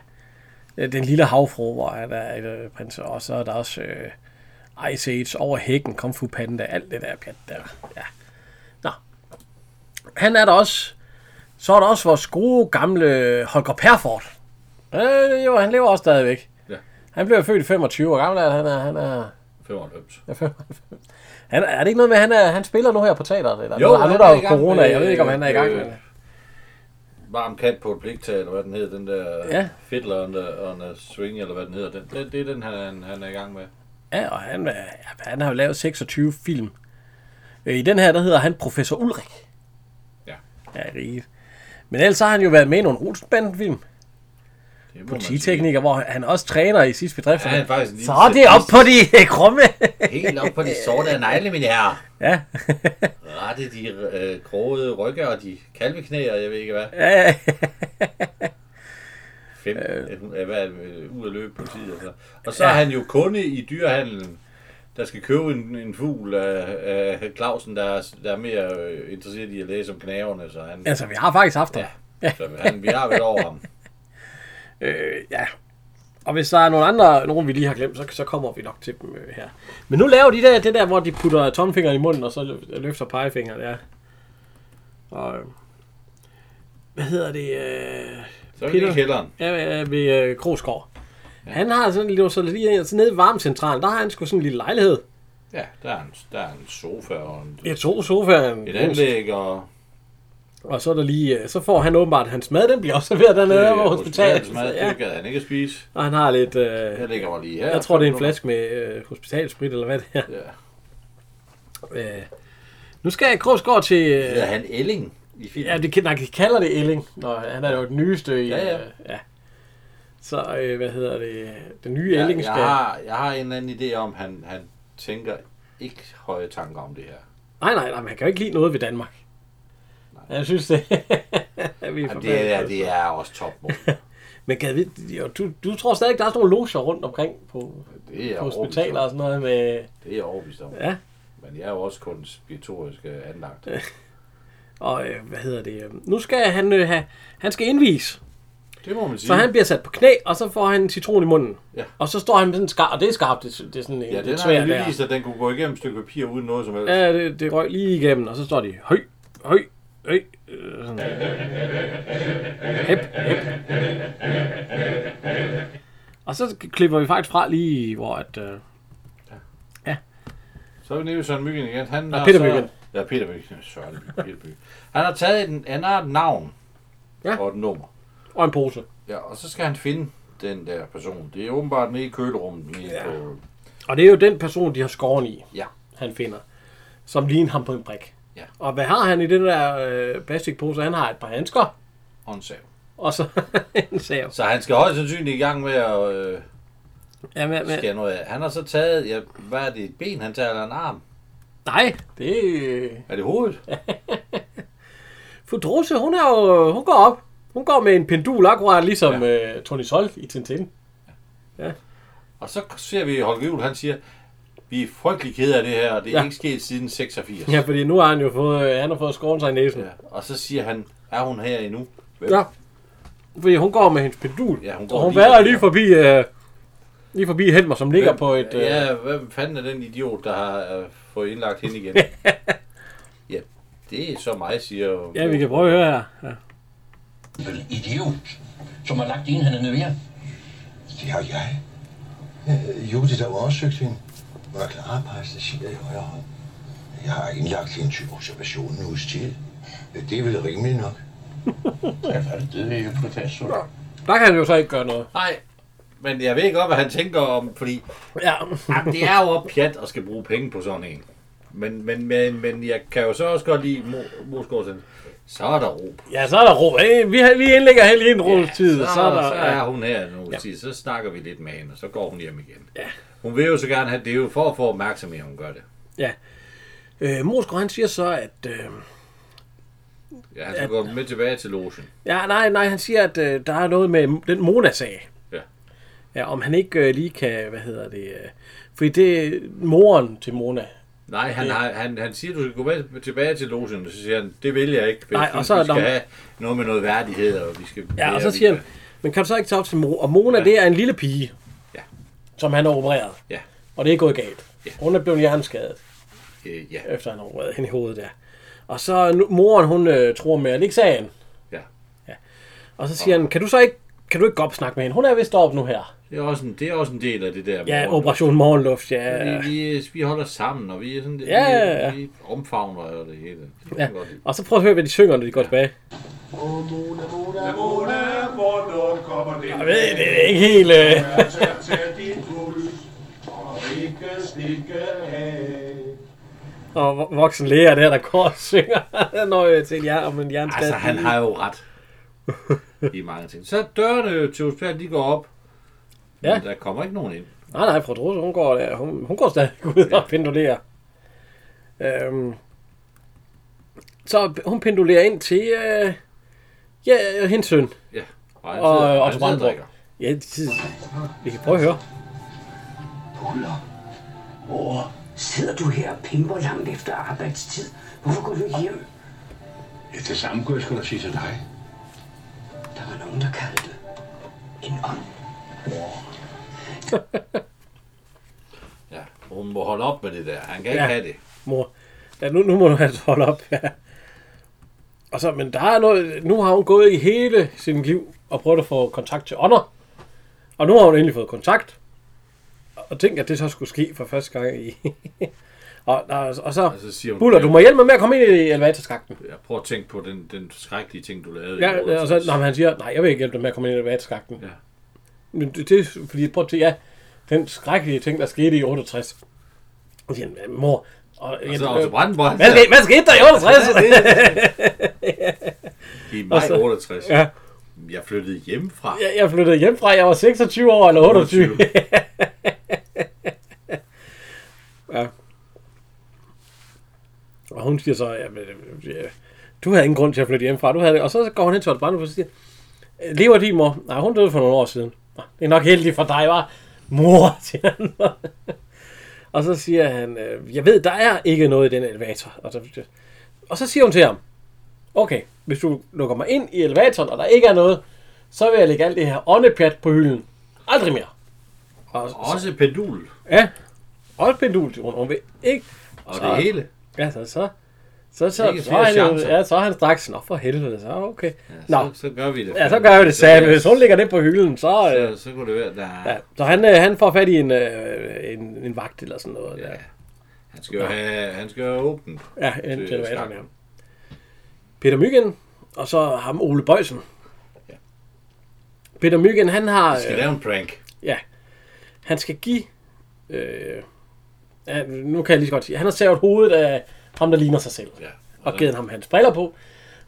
[SPEAKER 1] øh, Den lille havfru, hvor han er et øh, prins, og så er der også øh, Ice Age, Over hækken, Kung Fu Panda, alt det der pjat der. Ja. Nå. Han er der også, så er der også vores gode gamle Holger Perfort. Øh, jo, han lever også stadigvæk.
[SPEAKER 2] Ja.
[SPEAKER 1] Han blev født i 25 år gammel, er han er, han er,
[SPEAKER 2] 95.
[SPEAKER 1] er 95. Han, er- er det ikke noget med, at han, er, han spiller nu her på teateret? Eller?
[SPEAKER 2] Jo,
[SPEAKER 1] nu, er- nu
[SPEAKER 2] han
[SPEAKER 1] er der
[SPEAKER 2] er
[SPEAKER 1] jo
[SPEAKER 2] i gang
[SPEAKER 1] corona,
[SPEAKER 2] med,
[SPEAKER 1] jeg ved ikke, om han er i gang
[SPEAKER 2] øh,
[SPEAKER 1] med det.
[SPEAKER 2] Varm kat på et bliktag, eller hvad den hedder, den der
[SPEAKER 1] Ja.
[SPEAKER 2] fiddler on the, on the swing, eller hvad den hedder. Den, det, det er den, han, han er i gang med.
[SPEAKER 1] Ja, og han, er- ja, han har jo lavet 26 film. Øh, I den her, der hedder han Professor Ulrik.
[SPEAKER 2] Ja.
[SPEAKER 1] Ja, rigtigt. Men ellers har han jo været med i nogle Rosenbanden-film.
[SPEAKER 2] Det må man sige.
[SPEAKER 1] Polititekniker, hvor han også træner i sidste bedrift.
[SPEAKER 2] Ja, han er faktisk en lille
[SPEAKER 1] Så er det op på de øh, krumme.
[SPEAKER 2] Helt op på de sorte negle, mine herrer.
[SPEAKER 1] ja.
[SPEAKER 2] Rette de øh, krogede rygge og de kalveknæ, og jeg ved ikke hvad.
[SPEAKER 1] ja.
[SPEAKER 2] Fem, øh, hvad, er det, øh, ud af løb på tid. Altså. Og så er han jo kunde i dyrehandlen, der skal købe en, en fugl af, af Clausen, der er, der er mere øh, interesseret i at læse om knæverne, så han,
[SPEAKER 1] Altså, vi har faktisk haft det.
[SPEAKER 2] ja. så han, vi har været over ham.
[SPEAKER 1] Øh, ja. Og hvis der er nogle andre, nogen vi lige har glemt, så, så kommer vi nok til dem øh, her. Men nu laver de der, det der, hvor de putter tomfingeren i munden, og så lø- løfter pegefingeren, ja. Og, øh, hvad hedder det? Øh,
[SPEAKER 2] Så er vi i
[SPEAKER 1] Peter?
[SPEAKER 2] kælderen.
[SPEAKER 1] ja, øh, ved øh, Krogsgaard. Ja. Han har sådan lige, så lige så nede i varmecentralen, der har han sgu sådan en lille lejlighed.
[SPEAKER 2] Ja, der er en, der er en sofa og en,
[SPEAKER 1] Ja, to sofaer. en
[SPEAKER 2] et
[SPEAKER 1] brus.
[SPEAKER 2] anlæg og
[SPEAKER 1] Og så er der lige, øh, så får han åbenbart hans mad, den bliver også serveret dernede på hospitalet.
[SPEAKER 2] hospitalet.
[SPEAKER 1] Ja,
[SPEAKER 2] Øh, Det gad han ikke at spise.
[SPEAKER 1] og han har lidt, øh,
[SPEAKER 2] Jeg ligger mig lige her.
[SPEAKER 1] jeg tror det er en flaske med øh, hospitalsprit, eller hvad det er.
[SPEAKER 2] Ja.
[SPEAKER 1] Øh, nu skal Krogsgaard til... Øh,
[SPEAKER 2] Hedder han Elling i filmen?
[SPEAKER 1] ja, det, kan- nej, de kalder det Elling. Nå, han er jo den nyeste i...
[SPEAKER 2] Ja, ja.
[SPEAKER 1] Øh, ja. Så, øh, hvad hedder det... Den nye
[SPEAKER 2] jeg,
[SPEAKER 1] Elling
[SPEAKER 2] jeg,
[SPEAKER 1] skal...
[SPEAKER 2] har, jeg har en eller anden idé om, han, han tænker ikke høje tanker om det her.
[SPEAKER 1] Nej, nej, nej, man kan jo ikke lide noget ved Danmark. Nej. Jeg synes, det... vi er altså.
[SPEAKER 2] Jamen,
[SPEAKER 1] forbandet.
[SPEAKER 2] det, er, det er også topmål.
[SPEAKER 1] Men gad vi, jo, du, du tror stadig, der er sådan nogle loger rundt omkring på,
[SPEAKER 2] Det er jeg
[SPEAKER 1] på
[SPEAKER 2] overbevist
[SPEAKER 1] hospitaler og
[SPEAKER 2] om.
[SPEAKER 1] sådan noget med...
[SPEAKER 2] Det er jeg overbevist om.
[SPEAKER 1] Ja.
[SPEAKER 2] Men jeg er jo også kun spiratorisk øh, anlagt.
[SPEAKER 1] Og øh, hvad hedder det? øh, Nu skal han øh, have... Han skal indvise.
[SPEAKER 2] Det må man sige.
[SPEAKER 1] Så han bliver sat på knæ, og så får han en citron i munden.
[SPEAKER 2] Ja.
[SPEAKER 1] Og så står han med sådan en skarp, og det er skarpt, det, det er sådan en
[SPEAKER 2] ja, den
[SPEAKER 1] lidt
[SPEAKER 2] har
[SPEAKER 1] svær
[SPEAKER 2] jeg
[SPEAKER 1] der.
[SPEAKER 2] lige vist, at den kunne gå igennem et stykke papir uden noget som helst.
[SPEAKER 1] Ja, det, det røg lige igennem, og så står de, høj, høj, høj, øh, sådan. Hep, hep. Og så klipper vi faktisk fra lige, hvor at... Øh,
[SPEAKER 2] Så er vi nede ved Søren Myggen igen. Han
[SPEAKER 1] Og
[SPEAKER 2] har
[SPEAKER 1] Peter
[SPEAKER 2] så-
[SPEAKER 1] Mygind.
[SPEAKER 2] Ja, Peter Myggen. Søren Myggen, Peter Myggen. Han har taget en, han har et navn
[SPEAKER 1] Ja.
[SPEAKER 2] og et nummer.
[SPEAKER 1] og en pose.
[SPEAKER 2] Ja, og så skal han finde den der person. Det er åbenbart nede i kølerummet. Nede ja. På,
[SPEAKER 1] Og det er jo den person, de har skåren i,
[SPEAKER 2] ja.
[SPEAKER 1] han finder, som ligner ham på en brik.
[SPEAKER 2] Ja.
[SPEAKER 1] Og hvad har han i den der øh, plastikpose? Han har et par handsker,
[SPEAKER 2] Og en sav.
[SPEAKER 1] og så en sav.
[SPEAKER 2] Så han skal højst sandsynligt i gang med at øh,
[SPEAKER 1] Ja, men, men,
[SPEAKER 2] skære noget af. Han har så taget, ja, hvad er det, et ben han tager, eller en arm?
[SPEAKER 1] nej, det øh,
[SPEAKER 2] Er det hovedet?
[SPEAKER 1] Fru Drose, hun, er jo, hun går op. Hun går med en pendul akkurat ligesom ja. øh, Tony Sol i Tintin.
[SPEAKER 2] Og så ser vi Holger Juhl, han siger, vi er frygtelig kede af det her, og det er
[SPEAKER 1] Ja.
[SPEAKER 2] ja. ikke sket siden 86.
[SPEAKER 1] Ja, fordi nu har han jo fået, øh, han har fået skåren sig i næsen. Ja.
[SPEAKER 2] Ja. Og så siger han, er hun her endnu? Hvem?
[SPEAKER 1] ja. Fordi hun går med hendes pendul.
[SPEAKER 2] Ja, hun går
[SPEAKER 1] og hun
[SPEAKER 2] lige
[SPEAKER 1] værer
[SPEAKER 2] forbi
[SPEAKER 1] lige
[SPEAKER 2] ham.
[SPEAKER 1] forbi, øh, lige forbi Helmer, som ligger
[SPEAKER 2] Hvem-
[SPEAKER 1] på et... Øh, ja.
[SPEAKER 2] Ja, hvem fanden er den idiot, der har øh, fået indlagt hende igen? ja, det er så mig, siger
[SPEAKER 1] ja, vi kan prøve at høre her. Ja.
[SPEAKER 8] En idiot, som har lagt en, han er nede
[SPEAKER 7] Det har jeg. Øh, Judith har undersøgt hende. Var klar passager i højre hånd. Jeg har indlagt hende til observation en uges tid. Øh, Det er vel rimeligt nok.
[SPEAKER 6] Ja, for det døde jo professor.
[SPEAKER 1] Der kan han jo så ikke gøre noget.
[SPEAKER 2] Nej, men jeg ved godt, hvad han tænker om, fordi
[SPEAKER 1] Ja.
[SPEAKER 2] jamen, det er jo også pjat at skal bruge penge på sådan en. Men, men, men, men jeg kan jo så også godt lide Mo- Mosgaard så er der ro.
[SPEAKER 1] ja, så er der ro. Øh, vi, har- vi indlægger her lige en ro tid.
[SPEAKER 2] så,
[SPEAKER 1] så, er der,
[SPEAKER 2] så
[SPEAKER 1] ja.
[SPEAKER 2] er hun her nu, ja. så snakker vi lidt med hende, og så går hun hjem igen. Ja. Hun vil jo så gerne have, det er jo for at få opmærksomhed, hun gør det.
[SPEAKER 1] Øh, Moskva, han siger så, at... Øh,
[SPEAKER 2] Ja, han skal gå med tilbage til logen.
[SPEAKER 1] Ja, nej, nej, han siger, at øh, der er noget med den Mona-sag.
[SPEAKER 2] Ja.
[SPEAKER 1] Ja, om han ikke øh, lige kan, hvad hedder det, øh, fordi det er moren til Mona.
[SPEAKER 2] Nej, han, har, han, han siger, du skal gå med tilbage til logen, og så siger han, det vil jeg ikke, for
[SPEAKER 1] Nej,
[SPEAKER 2] Nej,
[SPEAKER 1] og
[SPEAKER 2] og
[SPEAKER 1] så er
[SPEAKER 2] vi skal
[SPEAKER 1] der-
[SPEAKER 2] have noget med noget værdighed, og vi skal...
[SPEAKER 1] Ja,
[SPEAKER 2] lære,
[SPEAKER 1] og så
[SPEAKER 2] vi
[SPEAKER 1] siger han,
[SPEAKER 2] skal-
[SPEAKER 1] men kan du så ikke tage op til Mona? Og Mona, ja. det er en lille pige,
[SPEAKER 2] Ja.
[SPEAKER 1] som han har opereret.
[SPEAKER 2] Ja.
[SPEAKER 1] Og det er gået galt.
[SPEAKER 2] Ja.
[SPEAKER 1] Hun er blevet hjerneskadet,
[SPEAKER 2] Øh, ja,
[SPEAKER 1] efter han har opereret hende i hovedet der. Og så nu, moren, hun øh, tror med, at det ikke sagde han.
[SPEAKER 2] ja.
[SPEAKER 1] Og så siger han, kan du så ikke, kan du ikke gå op og snakke med hende? Hun er vist op nu her.
[SPEAKER 2] Det er, også en, det er også en del af det der.
[SPEAKER 1] Ja,
[SPEAKER 2] hvor-
[SPEAKER 1] operation morgenluft, ja.
[SPEAKER 2] Vi, vi, vi holder sammen, og vi er sådan...
[SPEAKER 1] Ja, ja, ja.
[SPEAKER 2] Vi, vi omfavner og det hele. Det kan
[SPEAKER 1] ja.
[SPEAKER 2] jeg godt lide.
[SPEAKER 1] Og så prøv at høre, hvad de synger, når de går tilbage.
[SPEAKER 4] Åh, Mona, Mona, Mona.
[SPEAKER 10] Hvornår kommer det?
[SPEAKER 1] Jeg ved, det er ikke helt... Øh...
[SPEAKER 10] Altså, tag din puls og ikke stikke af.
[SPEAKER 1] Og vo- voksen læger der, der går og synger, når jeg til jer om en
[SPEAKER 2] Altså,
[SPEAKER 1] jernskade.
[SPEAKER 2] han har jo ret. i mange ting. Så dørene til hospitalet, de går op. Ja. Men der kommer ikke nogen ind.
[SPEAKER 1] Nej, nej, fru Drose, hun går, der. Hun, hun går stadig ud og pendulerer. Øhm, så hun pendulerer ind til øh, ja, hendes søn.
[SPEAKER 2] Ja.
[SPEAKER 1] Og,
[SPEAKER 2] han
[SPEAKER 1] og,
[SPEAKER 2] sidder-
[SPEAKER 1] og,
[SPEAKER 2] han
[SPEAKER 1] og
[SPEAKER 2] sidder og
[SPEAKER 1] Brandenborg.
[SPEAKER 2] drikker.
[SPEAKER 1] Ja, det, vi kan prøve at høre.
[SPEAKER 8] Uller. Mor, sidder du her og pimper langt efter arbejdstid? Hvorfor går du ikke hjem?
[SPEAKER 6] Ja, det samme kunne jeg skulle sige til dig.
[SPEAKER 8] Der var nogen, der kaldte det en ånd.
[SPEAKER 2] Ja, hun må holde op med det der. Han kan ikke
[SPEAKER 1] Ja.
[SPEAKER 2] ja. have det.
[SPEAKER 1] Mor, ja, nu, nu må du altså holde op. Ja. Og så, men der er noget, nu har hun gået i hele sin liv og prøvet at få kontakt til ånder. Og nu har hun endelig fået kontakt. Og tænk, at det så skulle ske for første gang i... og, og, og så,
[SPEAKER 2] så siger hun-
[SPEAKER 1] Buller, du må hjælpe mig med at komme ind i elevatorskakten.
[SPEAKER 2] Jeg prøver at tænke på den, den skrækkelige ting, du lavede. i
[SPEAKER 1] Ja, ja, og så,
[SPEAKER 2] 68.
[SPEAKER 1] når han siger, nej, jeg vil ikke hjælpe dig med at komme ind i elevatorskakten.
[SPEAKER 2] Ja.
[SPEAKER 1] Men det, det er fordi, prøv at tænke, ja, den skrækkelige ting, der skete i 68. Og siger, han, mor, og, øh,
[SPEAKER 2] Og så Otto Brandenburg.
[SPEAKER 1] Hvad, skete, hvad skete der i 68?
[SPEAKER 2] I maj
[SPEAKER 1] Og så-
[SPEAKER 2] 68.
[SPEAKER 1] Ja.
[SPEAKER 2] Jeg flyttede hjemmefra.
[SPEAKER 1] Jeg, jeg flyttede hjem fra, jeg var 26 år eller 28. ja. Og hun siger så, ja, men, ja, du havde ingen grund til at flytte hjemmefra. Du havde det. Og så går hun hen til Otto Brandenburg og siger, "Øh, lever din mor? Nej, hun døde for nogle år siden. "Nå, Det er nok heldigt for dig, var Mor, siger han. og så siger han, "Øh, jeg ved, der er ikke noget i den elevator. Og så, og så siger hun til ham, okay, hvis du lukker mig ind i elevatoren, og der ikke er noget, så vil jeg lægge alt det her åndepjat på hylden. Aldrig mere. Og,
[SPEAKER 2] Også et pendul.
[SPEAKER 1] Ja. Og et pendul til rundt ikke?
[SPEAKER 2] Og det hele.
[SPEAKER 1] Ja, så så... Så, så,
[SPEAKER 2] Ikke
[SPEAKER 1] så,
[SPEAKER 2] flere
[SPEAKER 1] er han, jo-
[SPEAKER 2] chancer.
[SPEAKER 1] ja, så er han straks, nå for helvede, så okay. Ja, nå,
[SPEAKER 2] Så, så gør vi det.
[SPEAKER 1] ja, så gør vi det, sagde han. Hvis hun ligger det på hylden, så... øh,
[SPEAKER 2] Så, så kunne det være, der...
[SPEAKER 1] ja. Så han, øh, han får fat i en, øh, en, en vagt eller sådan noget. Ja,
[SPEAKER 2] Han skal jo have, han skal jo have åbent.
[SPEAKER 1] ja en
[SPEAKER 2] til
[SPEAKER 1] til elevatoren,
[SPEAKER 2] skak.
[SPEAKER 1] ja. Peter Myggen, og så ham Ole Bøjsen. Peter Myggen, han har...
[SPEAKER 2] Han skal
[SPEAKER 1] øh,
[SPEAKER 2] lave en prank.
[SPEAKER 1] Ja. Han skal give... Øh, ja, nu kan jeg lige så godt sige. Han har savet hovedet af ham, der ligner sig selv.
[SPEAKER 2] Ja.
[SPEAKER 1] Og givet ham hans briller på.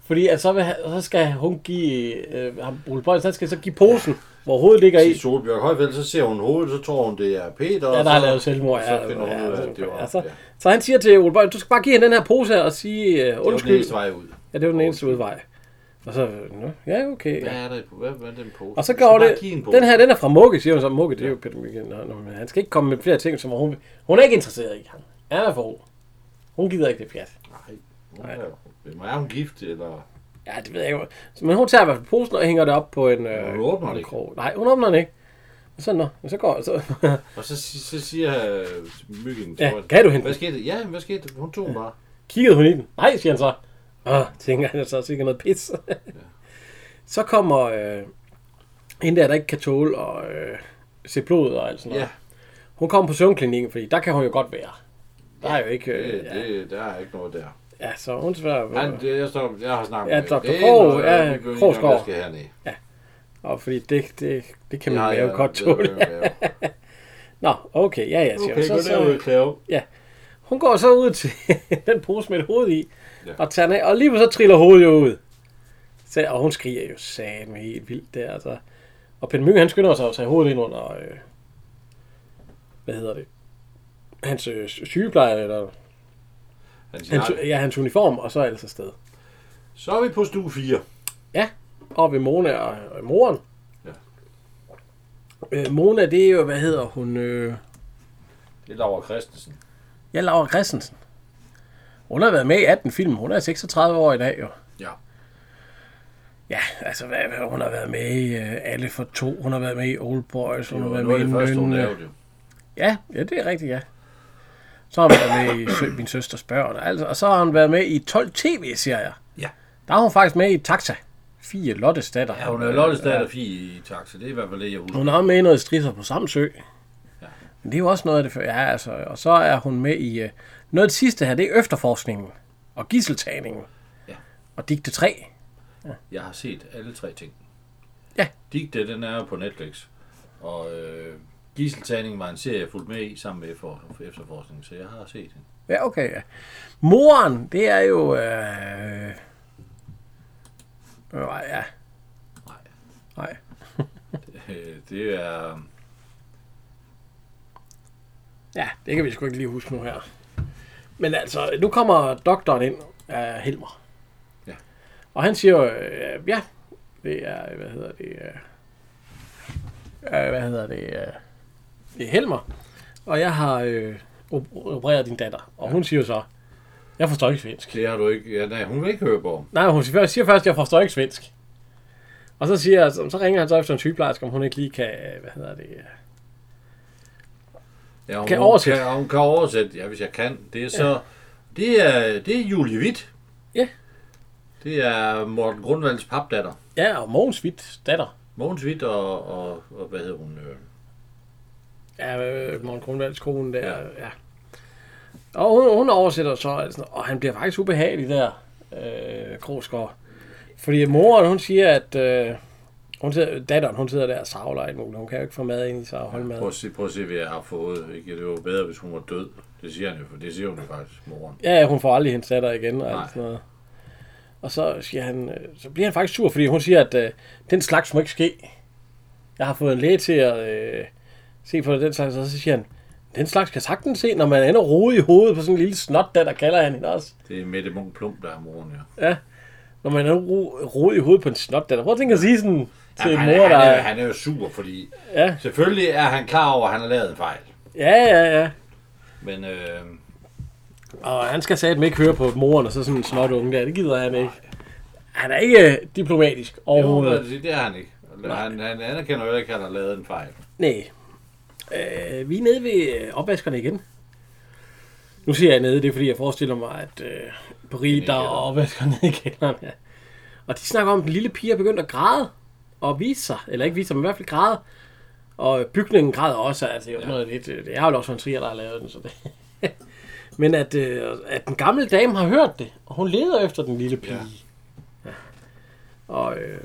[SPEAKER 1] Fordi at så, vil, han- så skal hun give... Øh, ham, Ole Bøjsen, han skal så give posen, hvor hovedet ligger i.
[SPEAKER 2] Til Solbjørg Højfeldt, så ser hun hovedet, så tror hun, det er Peter.
[SPEAKER 1] Ja,
[SPEAKER 2] og
[SPEAKER 1] der har
[SPEAKER 2] så-
[SPEAKER 1] lavet selvmord.
[SPEAKER 2] og
[SPEAKER 1] Ja, altså,
[SPEAKER 2] Så finder hun ud af, at det var...
[SPEAKER 1] ja,
[SPEAKER 2] Ja,
[SPEAKER 1] så,
[SPEAKER 2] det
[SPEAKER 1] så han siger til Ole Bøjsen, du skal bare give hende den her pose her og sige øh,
[SPEAKER 2] var den
[SPEAKER 1] undskyld.
[SPEAKER 2] eneste vej ud.
[SPEAKER 1] Ja, det var den eneste udvej. Og så, øh, nå, ja, okay.
[SPEAKER 2] Hvad
[SPEAKER 1] Ja.
[SPEAKER 2] er der i hvad, hvad er den pose?
[SPEAKER 1] Og så
[SPEAKER 2] Du skal
[SPEAKER 1] går
[SPEAKER 2] bare
[SPEAKER 1] det,
[SPEAKER 2] give en pose.
[SPEAKER 1] den her, den er fra Mugge, siger hun så. Mugge, det er jo Peter Myggen. Nå, nå, men Han skal ikke komme med flere ting, som hun... Hun er ikke interesseret i ham. Han er for ro. Hun gider ikke det pjat.
[SPEAKER 2] Nej, hun er- Hvem er hun gift, eller...
[SPEAKER 1] Ja, det ved jeg ikke. Men hun tager i hvert fald posen og hænger det op på en... Øh,
[SPEAKER 2] Hun åbner
[SPEAKER 1] en
[SPEAKER 2] det ikke.
[SPEAKER 1] krog. Nej, hun åbner den ikke. Og så, nå, og så går så,
[SPEAKER 2] Og så, si- så siger øh, Myggen...
[SPEAKER 1] Ja,
[SPEAKER 2] tror jeg,
[SPEAKER 1] kan du hente
[SPEAKER 2] Hvad
[SPEAKER 1] den?
[SPEAKER 2] skete der? Ja, hvad skete der? Hun tog den bare.
[SPEAKER 1] kiggede hun i den. Nej, siger han så. Åh, tænker han så sikkert noget pis. så kommer øh, hende der, der ikke kan tåle at øh, se blod og alt sådan noget.
[SPEAKER 2] Ja,
[SPEAKER 1] Hun kommer på søvnklinikken, fordi der kan hun jo godt være. Der er jo ikke...
[SPEAKER 2] det,
[SPEAKER 1] Øh, ja,
[SPEAKER 2] det, der er ikke noget der.
[SPEAKER 1] ja, så hun spørger...
[SPEAKER 2] Han, det, jeg, står, jeg har snakket
[SPEAKER 1] Ja,
[SPEAKER 2] med
[SPEAKER 1] Dr.
[SPEAKER 2] Det er
[SPEAKER 1] Krog,
[SPEAKER 2] noget,
[SPEAKER 1] ja,
[SPEAKER 2] vi går ind i,
[SPEAKER 1] Krogsgaard.
[SPEAKER 2] når vi skal herned.
[SPEAKER 1] Og fordi det, det, det kan man
[SPEAKER 2] Ja,
[SPEAKER 1] jo
[SPEAKER 2] ja,
[SPEAKER 1] godt
[SPEAKER 2] det er
[SPEAKER 1] tåle.
[SPEAKER 2] jo mave.
[SPEAKER 1] Nå, okay, ja, ja, siger
[SPEAKER 2] Okay,
[SPEAKER 1] hun.
[SPEAKER 2] gå
[SPEAKER 1] Altså, Så,
[SPEAKER 2] derud,
[SPEAKER 1] så,
[SPEAKER 2] Cleo.
[SPEAKER 1] hun går så ud til den pose med et hoved i,
[SPEAKER 2] Ja.
[SPEAKER 1] og tager den af, og lige så triller hovedet jo ud. Så, og hun skriger jo satme helt vildt der, altså. Og Peter Myng, han skynder sig at tage hovedet ind under, øh, hvad hedder det, hans øh, sygepleje, eller
[SPEAKER 2] Han siger,
[SPEAKER 1] hans,
[SPEAKER 2] "Nej,
[SPEAKER 1] ja, hans uniform, og så er ellers afsted.
[SPEAKER 2] Så er vi på stue 4.
[SPEAKER 1] Ja, og ved Mona og, og moren.
[SPEAKER 2] Ja.
[SPEAKER 1] Øh, Mona, det er jo, hvad hedder hun? Øh,
[SPEAKER 2] Det er Laura Christensen.
[SPEAKER 1] ja, Laura Christensen. Hun har været med i 18 film. Hun er 36 år i dag, jo.
[SPEAKER 2] Ja.
[SPEAKER 1] Ja, altså, hvad, hvad, hun har været med i øh, Alle for to. Hun har været med i Old Boys. Hun har
[SPEAKER 2] Det var
[SPEAKER 1] været
[SPEAKER 2] noget
[SPEAKER 1] med
[SPEAKER 2] af
[SPEAKER 1] i
[SPEAKER 2] det første, hun
[SPEAKER 1] Nøn, øh,
[SPEAKER 2] lavede. jo.
[SPEAKER 1] Ja, ja, det er rigtigt, ja. Så har hun været med i Søg min søsters børn. Altså, og så har hun været med i 12 tv-serier.
[SPEAKER 2] Ja.
[SPEAKER 1] Der er hun faktisk med i Taxa. Fie Lottes datter.
[SPEAKER 2] Ja, hun er Lottes datter Fie i taxa. Det er i hvert fald det, jeg husker.
[SPEAKER 1] Hun er også med i noget strisser på Samsø. Men det er jo også noget af det før. Ja, altså. Og så er hun med i... øh, Noget af det sidste her, det er efterforskningen og gisseltagningen.
[SPEAKER 2] Ja.
[SPEAKER 1] Og digte 3.
[SPEAKER 2] Jeg har set alle tre ting.
[SPEAKER 1] Ja.
[SPEAKER 2] Digte, den er jo på Netflix. Og øh, Giseltagning var en serie, jeg fulgte med i sammen med for, for efterforskning, så jeg har set den.
[SPEAKER 1] Ja, okay. Ja. Moren, det er jo... Øh... øh, Ja,
[SPEAKER 2] Øh, det er...
[SPEAKER 1] Ja, det kan vi sgu ikke lige huske nu her. Men altså, nu kommer doktoren ind af Helmer.
[SPEAKER 2] Ja.
[SPEAKER 1] Og han siger, øh, ja, det er, hvad hedder det, øh, øh, hvad hedder det, øh, det er Helmer. Og jeg har øh, op- opereret din datter. Og hun siger så, jeg forstår ikke svensk.
[SPEAKER 2] Det har du ikke... Ja, nej, hun vil ikke høre på.
[SPEAKER 1] Nej, hun siger først, siger først jeg forstår ikke svensk. Og så, siger, så, så ringer han så efter en sygeplejerske, om hun ikke lige kan, øh, hvad hedder det, øh,
[SPEAKER 2] Ja, hun
[SPEAKER 1] Kan
[SPEAKER 2] kan,
[SPEAKER 1] oversætte.
[SPEAKER 2] oversætte. Kan, hun kan oversætte, ja, hvis jeg kan. Det er så... Ja. Det er, det er Julie Witt.
[SPEAKER 1] Ja.
[SPEAKER 2] Det er Morten Grundvalds papdatter.
[SPEAKER 1] ja, og Mogens Witt, datter.
[SPEAKER 2] Mogens Witt og, og, og hvad hedder hun? øh,
[SPEAKER 1] Ja, øh, Morten Grundvalds kone der, ja. ja. Og hun, hun oversætter så, altså, og han bliver faktisk ubehagelig der, øh, Krogsgaard. Fordi moren, hun siger, at øh, hun sidder, datteren, hun sidder der og savler alt muligt. Hun kan jo ikke få mad ind i sig og holde
[SPEAKER 2] Prøv
[SPEAKER 1] mad.
[SPEAKER 2] at se, prøv at se hvad jeg har fået. Ikke? Det var bedre, hvis hun var død. Det siger han jo, for det siger hun jo faktisk, moren.
[SPEAKER 1] Ja, ja, hun får aldrig hendes datter igen og
[SPEAKER 2] Nej.
[SPEAKER 1] alt sådan noget. Og så, siger han, øh, så bliver han faktisk sur, fordi hun siger, at øh, den slags må ikke ske. Jeg har fået en læge til at øh, se på den slags, og så siger han, den slags kan sagtens se, når man ender rodet i hovedet på sådan en lille snot, der, der kalder han hende også.
[SPEAKER 2] Det er Mette Munk Plump, der er moren, ja.
[SPEAKER 1] Ja. Når man er ro, rodet i hovedet på en snot, der. Prøv at tænke at sige sådan til
[SPEAKER 2] Jamen,
[SPEAKER 1] en
[SPEAKER 2] han,
[SPEAKER 1] mor,
[SPEAKER 2] er,
[SPEAKER 1] der...
[SPEAKER 2] han, er, han er jo sur, fordi
[SPEAKER 1] Ja.
[SPEAKER 2] selvfølgelig er han klar over, at han har lavet en fejl.
[SPEAKER 1] Ja, ja, ja.
[SPEAKER 2] Men øh,
[SPEAKER 1] Og han skal satme ikke høre på moren og så sådan en snot unge der. Det gider han ikke. Han er ikke øh, diplomatisk
[SPEAKER 2] jo,
[SPEAKER 1] overhovedet.
[SPEAKER 2] det, det er han ikke. Han, han anerkender jo ikke, at han har lavet en fejl.
[SPEAKER 1] Nej. Øh, vi er nede ved øh, opvaskerne igen. Nu siger jeg nede, det er fordi, jeg forestiller mig, at øh, Paris, der er opvasker nede i kælderen. Ja. Og de snakker om, at den lille pige er begyndt at græde og vise sig. Eller ikke vise sig, men i hvert fald græde. Og øh, bygningen græder også. Altså, det er jo noget lidt, øh, det er jo Lars von Trier, der har lavet den. Så det. men at, øh, at den gamle dame har hørt det, og hun leder efter den lille pige. Ja. Ja. Og, øh,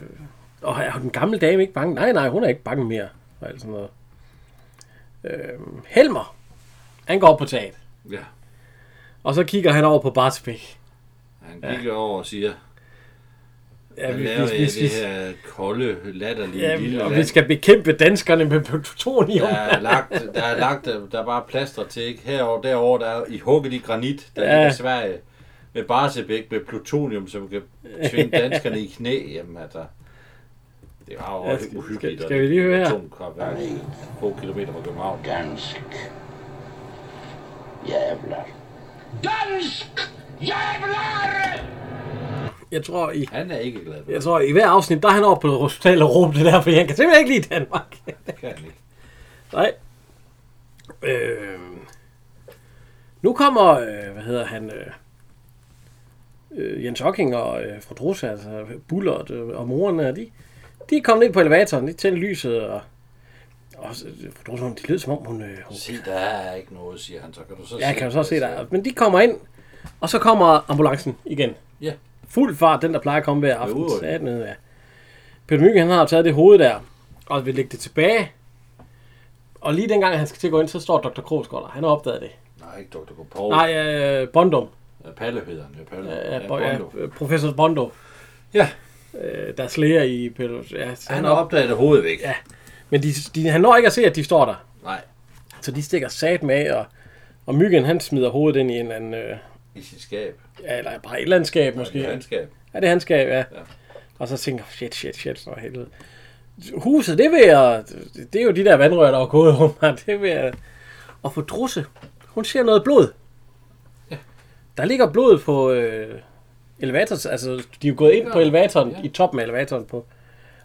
[SPEAKER 1] og er den gamle dame ikke bange? Nej, nej, hun er ikke bange mere. Og alt sådan noget. Øh, Helmer, han går op på taget.
[SPEAKER 2] Ja.
[SPEAKER 1] Og så kigger han over på Bartbæk.
[SPEAKER 2] Han kigger ja. over og siger,
[SPEAKER 1] Ja,
[SPEAKER 2] ja,
[SPEAKER 1] vi- vi-
[SPEAKER 2] vi, laver
[SPEAKER 1] vi-
[SPEAKER 2] vi,
[SPEAKER 1] vi-
[SPEAKER 2] det her kolde, latterlige ja, lille
[SPEAKER 1] Ja, og
[SPEAKER 2] land.
[SPEAKER 1] vi skal bekæmpe danskerne med plutonium.
[SPEAKER 2] Der er lagt, der er lagt, der er bare plaster til, ikke? Herover, derover, der er i hugget i granit, der
[SPEAKER 1] Ja.
[SPEAKER 2] ja. ligger Sverige med Barsebæk, med plutonium, som kan tvinge danskerne i knæ. Jamen, altså, det var jo
[SPEAKER 1] Ja,
[SPEAKER 2] også
[SPEAKER 1] skal-
[SPEAKER 2] uhyggeligt.
[SPEAKER 1] skal-
[SPEAKER 2] og
[SPEAKER 1] skal vi lige høre her?
[SPEAKER 2] Atomkraftværk, få kilometer fra København.
[SPEAKER 6] Gansk. Jævlar. Dansk! Jævlar!
[SPEAKER 1] Jeg tror, i,
[SPEAKER 2] Han er ikke glad for
[SPEAKER 1] jeg tror, i hver afsnit, der er han over på hospitalet og råber det der, for han kan simpelthen ikke lide Danmark.
[SPEAKER 2] det, kan han ikke.
[SPEAKER 1] Nej. Øh, nu kommer, øh, hvad hedder han, øh, øh, Jens Hocking og øh, fru Drusse, altså Bullert øh, og moren og de, de er kommet ind på elevatoren, de tænder lyset, og, og så- fru Drusse, hun- det lyder som om, hun, øh, hun
[SPEAKER 2] Se, der er ikke noget, siger han. Så kan du så
[SPEAKER 1] Ja, kan du så se der. Men de kommer ind, og så kommer ambulancen igen.
[SPEAKER 2] Ja.
[SPEAKER 1] Fuld fart, den der plejer at komme hver
[SPEAKER 2] Jo,
[SPEAKER 1] aften.
[SPEAKER 2] jo.
[SPEAKER 1] Satan, øh, ja. Peter Mygind, han har taget det hoved der, og vil lægge det tilbage. Og lige dengang han skal til at gå ind, så står Dr. Krogsgaard der. Han har opdaget det.
[SPEAKER 2] Nej, ikke Dr. Paul. Nej.
[SPEAKER 1] Nej, øh, Bondum.
[SPEAKER 2] Palle hedder han. Ja, Palle.
[SPEAKER 1] Øh,
[SPEAKER 2] Oh. Ja,
[SPEAKER 1] bo-
[SPEAKER 2] Bondo.
[SPEAKER 1] ja, professor Bondo.
[SPEAKER 2] Ja.
[SPEAKER 1] Øh, der slæger i Peter. Ja, så
[SPEAKER 2] Han har opdaget det hovedet væk.
[SPEAKER 1] Ja. Men de, de, han når ikke at se, at de står der.
[SPEAKER 2] Nej,
[SPEAKER 1] Så de stikker sat med af, og, og Myggen han smider hovedet ind i en eller anden... Øh,
[SPEAKER 2] i sit skab.
[SPEAKER 1] ja, eller bare et eller andet skab måske.
[SPEAKER 2] I hans skab.
[SPEAKER 1] Ja, det er handskab, ja. ja.
[SPEAKER 2] Ja.
[SPEAKER 1] Og så tænker jeg, shit, shit, shit, for helvede. Huset, det vil jeg... Det er jo de der vandrør, der er gået under. Det vil jeg... Og på Drusse, hun ser noget blod. Ja. Der ligger blod på øh, elevatoren. Altså, de er jo gået ind ja. på elevatoren, ja. i toppen af elevatoren på.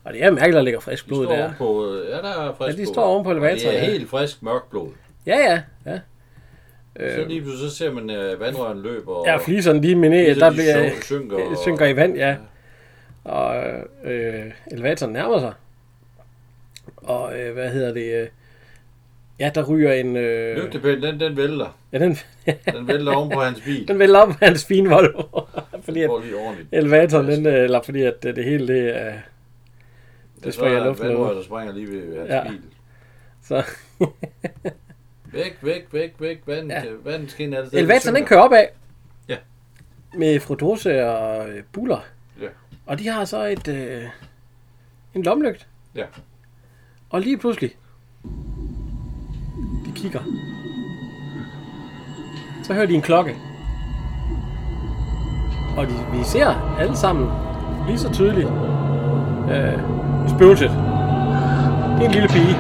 [SPEAKER 1] Og det er mærkeligt, at der ligger frisk blod
[SPEAKER 2] De står
[SPEAKER 1] der.
[SPEAKER 2] ovenpå, øh, ja, der er frisk
[SPEAKER 1] Ja, de
[SPEAKER 2] blod.
[SPEAKER 1] står ovenpå elevatoren,
[SPEAKER 2] Det er
[SPEAKER 1] ja.
[SPEAKER 2] helt frisk mørkt blod.
[SPEAKER 1] Ja, ja, ja.
[SPEAKER 2] Så lige pludselig så ser man, at vandrøren løber. og-
[SPEAKER 1] Ja, fliserne lige mine,
[SPEAKER 2] Fliserne,
[SPEAKER 1] der
[SPEAKER 2] de
[SPEAKER 1] bliver, øh,
[SPEAKER 2] syn- synker og-
[SPEAKER 1] synker i vand, ja. Og øh, elevatoren nærmer sig. Og øh, hvad hedder det? Øh, ja, der ryger en... Øh,
[SPEAKER 2] Lygtepælen, den, den vælter.
[SPEAKER 1] ja, den,
[SPEAKER 2] Den vælter oven på hans bil.
[SPEAKER 1] den vælger op af hans fine Volvo. fordi
[SPEAKER 2] Den
[SPEAKER 1] at
[SPEAKER 2] går lige ordentligt.
[SPEAKER 1] elevatoren, den, øh, eller fordi at det, det hele, det er... Øh,
[SPEAKER 2] Ja, så
[SPEAKER 1] springer
[SPEAKER 2] er
[SPEAKER 1] luften
[SPEAKER 2] vandrøren,
[SPEAKER 1] ud.
[SPEAKER 2] der springer lige ved hans
[SPEAKER 1] Ja.
[SPEAKER 2] ja. bil.
[SPEAKER 1] så
[SPEAKER 2] Væk, væk, væk, væk. Vand,
[SPEAKER 1] Ja.
[SPEAKER 2] ja. Vandet skinner alle steder.
[SPEAKER 1] elevatoren, den
[SPEAKER 2] synker.
[SPEAKER 1] kører opad.
[SPEAKER 2] Ja.
[SPEAKER 1] Med Frodose og øh, Buller.
[SPEAKER 2] Ja.
[SPEAKER 1] Og de har så et... Øh, en lomlygt.
[SPEAKER 2] Ja.
[SPEAKER 1] Og lige pludselig, de kigger. Så hører de en klokke. Og de, vi ser alle sammen lige så tydeligt øh, spøgelset. Det er en lille pige.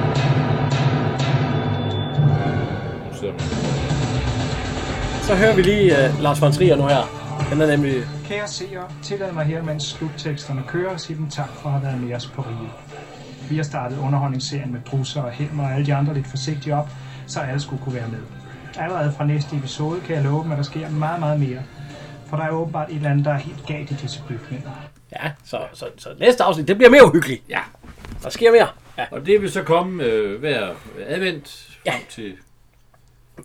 [SPEAKER 1] Så hører vi lige øh, Lars von Trier nu her. Han er nemlig
[SPEAKER 11] Kære seere, tillad mig her, mens slutteksterne kører, at sige dem tak for at have været med os på Rio. Vi har startet underholdningsserien med Drusser og Helmer og alle de andre lidt forsigtigt op, så alle skulle kunne være med. Allerede fra næste episode kan jeg love dem, at der sker meget, meget mere. For der er åbenbart et eller andet, der er helt galt i disse bygninger.
[SPEAKER 1] Ja, så, så, så næste afsnit, det bliver mere uhyggeligt. Ja. Der sker mere. Ja.
[SPEAKER 2] Og det vil så komme øh, hver advent ja. til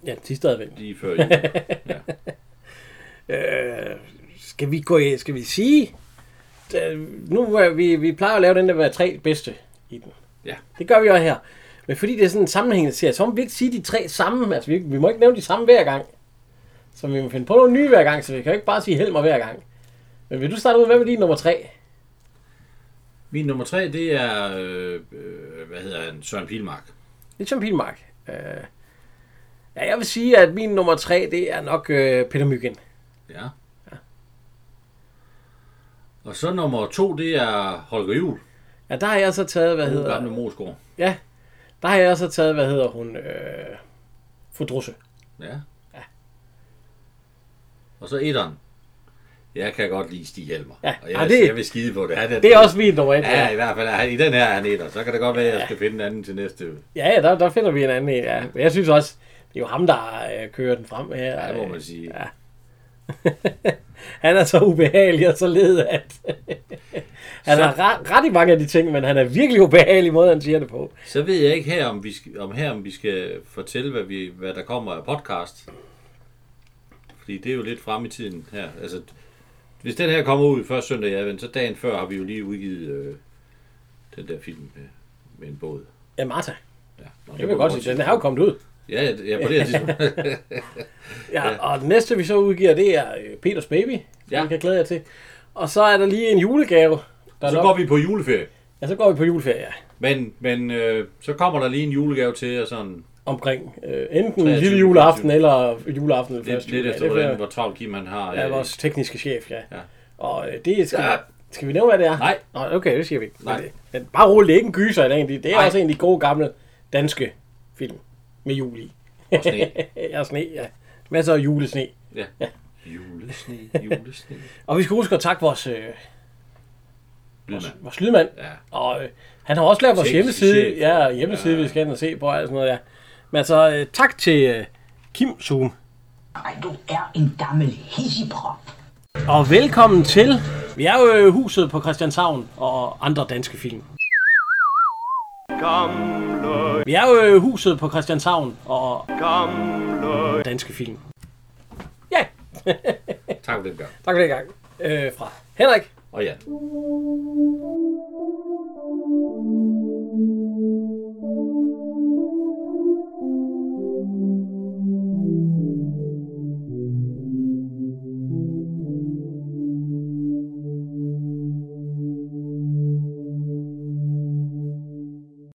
[SPEAKER 1] Ja, sidste advent.
[SPEAKER 2] lige før jul. ja.
[SPEAKER 1] Øh, skal vi gå i, skal vi sige? Da- Nu er vi, vi plejer at lave den der med tre bedste i den.
[SPEAKER 2] Ja.
[SPEAKER 1] Det gør vi også her. Men fordi det er sådan en sammenhængende serie, så må vi ikke sige de tre samme. Altså, vi, vi må ikke nævne de samme hver gang. Så vi må finde på nogle nye hver gang, så vi kan jo ikke bare sige Helmer hver gang. Men vil du starte ud, hvad med din nummer tre?
[SPEAKER 2] Min nummer tre, det er, øh, øh, hvad hedder han, Søren Pilmark.
[SPEAKER 1] Det er Søren Pilmark. Øh, ja, jeg vil sige, at min nummer tre, det er nok øh, Peter Myggen.
[SPEAKER 2] Ja. ja. Og så nummer to, det er Holger Juhl.
[SPEAKER 1] Ja, der har jeg så taget, hvad
[SPEAKER 2] Den
[SPEAKER 1] hedder...
[SPEAKER 2] gamle Mosgaard.
[SPEAKER 1] Ja, der har jeg så taget, hvad hedder hun? Øh, fru Drusse.
[SPEAKER 2] Ja. Og så etteren. Jeg kan godt lide Stig Hjelmer.
[SPEAKER 1] Ja,
[SPEAKER 2] og jeg,
[SPEAKER 1] ah, det-
[SPEAKER 2] jeg vil skide på det. Han
[SPEAKER 1] Det er også min nummer et.
[SPEAKER 2] Ja,
[SPEAKER 1] Ja,
[SPEAKER 2] i hvert fald er han, i den her er han etter. Så kan det godt være, at jeg skal finde en anden til næste.
[SPEAKER 1] ja ja, der, der finder vi en anden en. Ja. Men Jeg synes også, det er jo ham, der øh, kører den frem her.
[SPEAKER 2] Ja, må
[SPEAKER 1] øh.
[SPEAKER 2] man sige.
[SPEAKER 1] Ja. han er så ubehagelig og så led, at han
[SPEAKER 2] Så-
[SPEAKER 1] har ret, ret i mange af de ting, men han er virkelig ubehagelig i måden, han siger det på.
[SPEAKER 2] Så ved jeg ikke her, om vi skal, om her, om vi skal fortælle, hvad, vi, hvad der kommer af podcast. Fordi det er jo lidt frem i tiden her. Altså, hvis den her kommer ud først søndag i advent, så dagen før har vi jo lige udgivet øh, den der film med, med en båd.
[SPEAKER 1] Ja, Martha.
[SPEAKER 2] Ja, nå,
[SPEAKER 1] Det vil
[SPEAKER 2] var
[SPEAKER 1] jeg godt
[SPEAKER 2] vores-
[SPEAKER 1] sige. Den er jo kommet ud.
[SPEAKER 2] Ja, ja, ja, på det her tidspunkt.
[SPEAKER 1] Ja, og den næste, vi så udgiver, det er øh, Peters Baby. Ja. Det kan jeg glæde jer til. Og så er der lige en julegave. Der
[SPEAKER 2] så
[SPEAKER 1] nok-
[SPEAKER 2] går vi på juleferie.
[SPEAKER 1] Ja, så går vi på juleferie, ja.
[SPEAKER 2] Men, men øh, så kommer der lige en julegave til, og sådan
[SPEAKER 1] omkring øh, enten
[SPEAKER 2] 23,
[SPEAKER 1] lille juleaften eller juleaften eller
[SPEAKER 2] lidt,
[SPEAKER 1] første
[SPEAKER 2] lidt
[SPEAKER 1] juledag.
[SPEAKER 2] efter,
[SPEAKER 1] Det
[SPEAKER 2] hvordan,
[SPEAKER 1] bliver-
[SPEAKER 2] hvor travlt Kim han har.
[SPEAKER 1] Ja,
[SPEAKER 2] øh,
[SPEAKER 1] vores tekniske chef, ja.
[SPEAKER 2] Ja.
[SPEAKER 1] Og øh, det skal,
[SPEAKER 2] Ja.
[SPEAKER 1] skal vi nævne, hvad det er?
[SPEAKER 2] Nej.
[SPEAKER 1] Nå, okay, det siger vi ikke.
[SPEAKER 2] Nej.
[SPEAKER 1] Men det- Men bare roligt, det er ikke en gyser i dag. egentlig. Det er
[SPEAKER 2] Nej.
[SPEAKER 1] også en af de gode gamle danske film med jul i.
[SPEAKER 2] Og sne.
[SPEAKER 1] ja, sne, ja. Masser af julesne.
[SPEAKER 2] Ja.
[SPEAKER 1] Ja.
[SPEAKER 2] Julesne, julesne.
[SPEAKER 1] Og vi skal huske at takke vores, øh,
[SPEAKER 2] Lydmand.
[SPEAKER 1] vores lydmand.
[SPEAKER 2] Ja.
[SPEAKER 1] Og øh, han har også lavet vores
[SPEAKER 2] Teknisk
[SPEAKER 1] hjemmeside.
[SPEAKER 2] chef.
[SPEAKER 1] Ja, og hjemmeside,
[SPEAKER 2] Ja.
[SPEAKER 1] vi skal ind og se på og alt sådan noget, ja. Men altså, øh, tak til øh, Kim Zoom.
[SPEAKER 9] Ej, du er en gammel hisseprop.
[SPEAKER 1] Og velkommen til. Vi er jo i huset på Christianshavn og andre danske film. Gamle. Vi er jo i huset på Christianshavn og gamle danske film. Ja,
[SPEAKER 2] Tak for den gang.
[SPEAKER 1] tak for det gang. Øh, fra Henrik.
[SPEAKER 2] Og ja.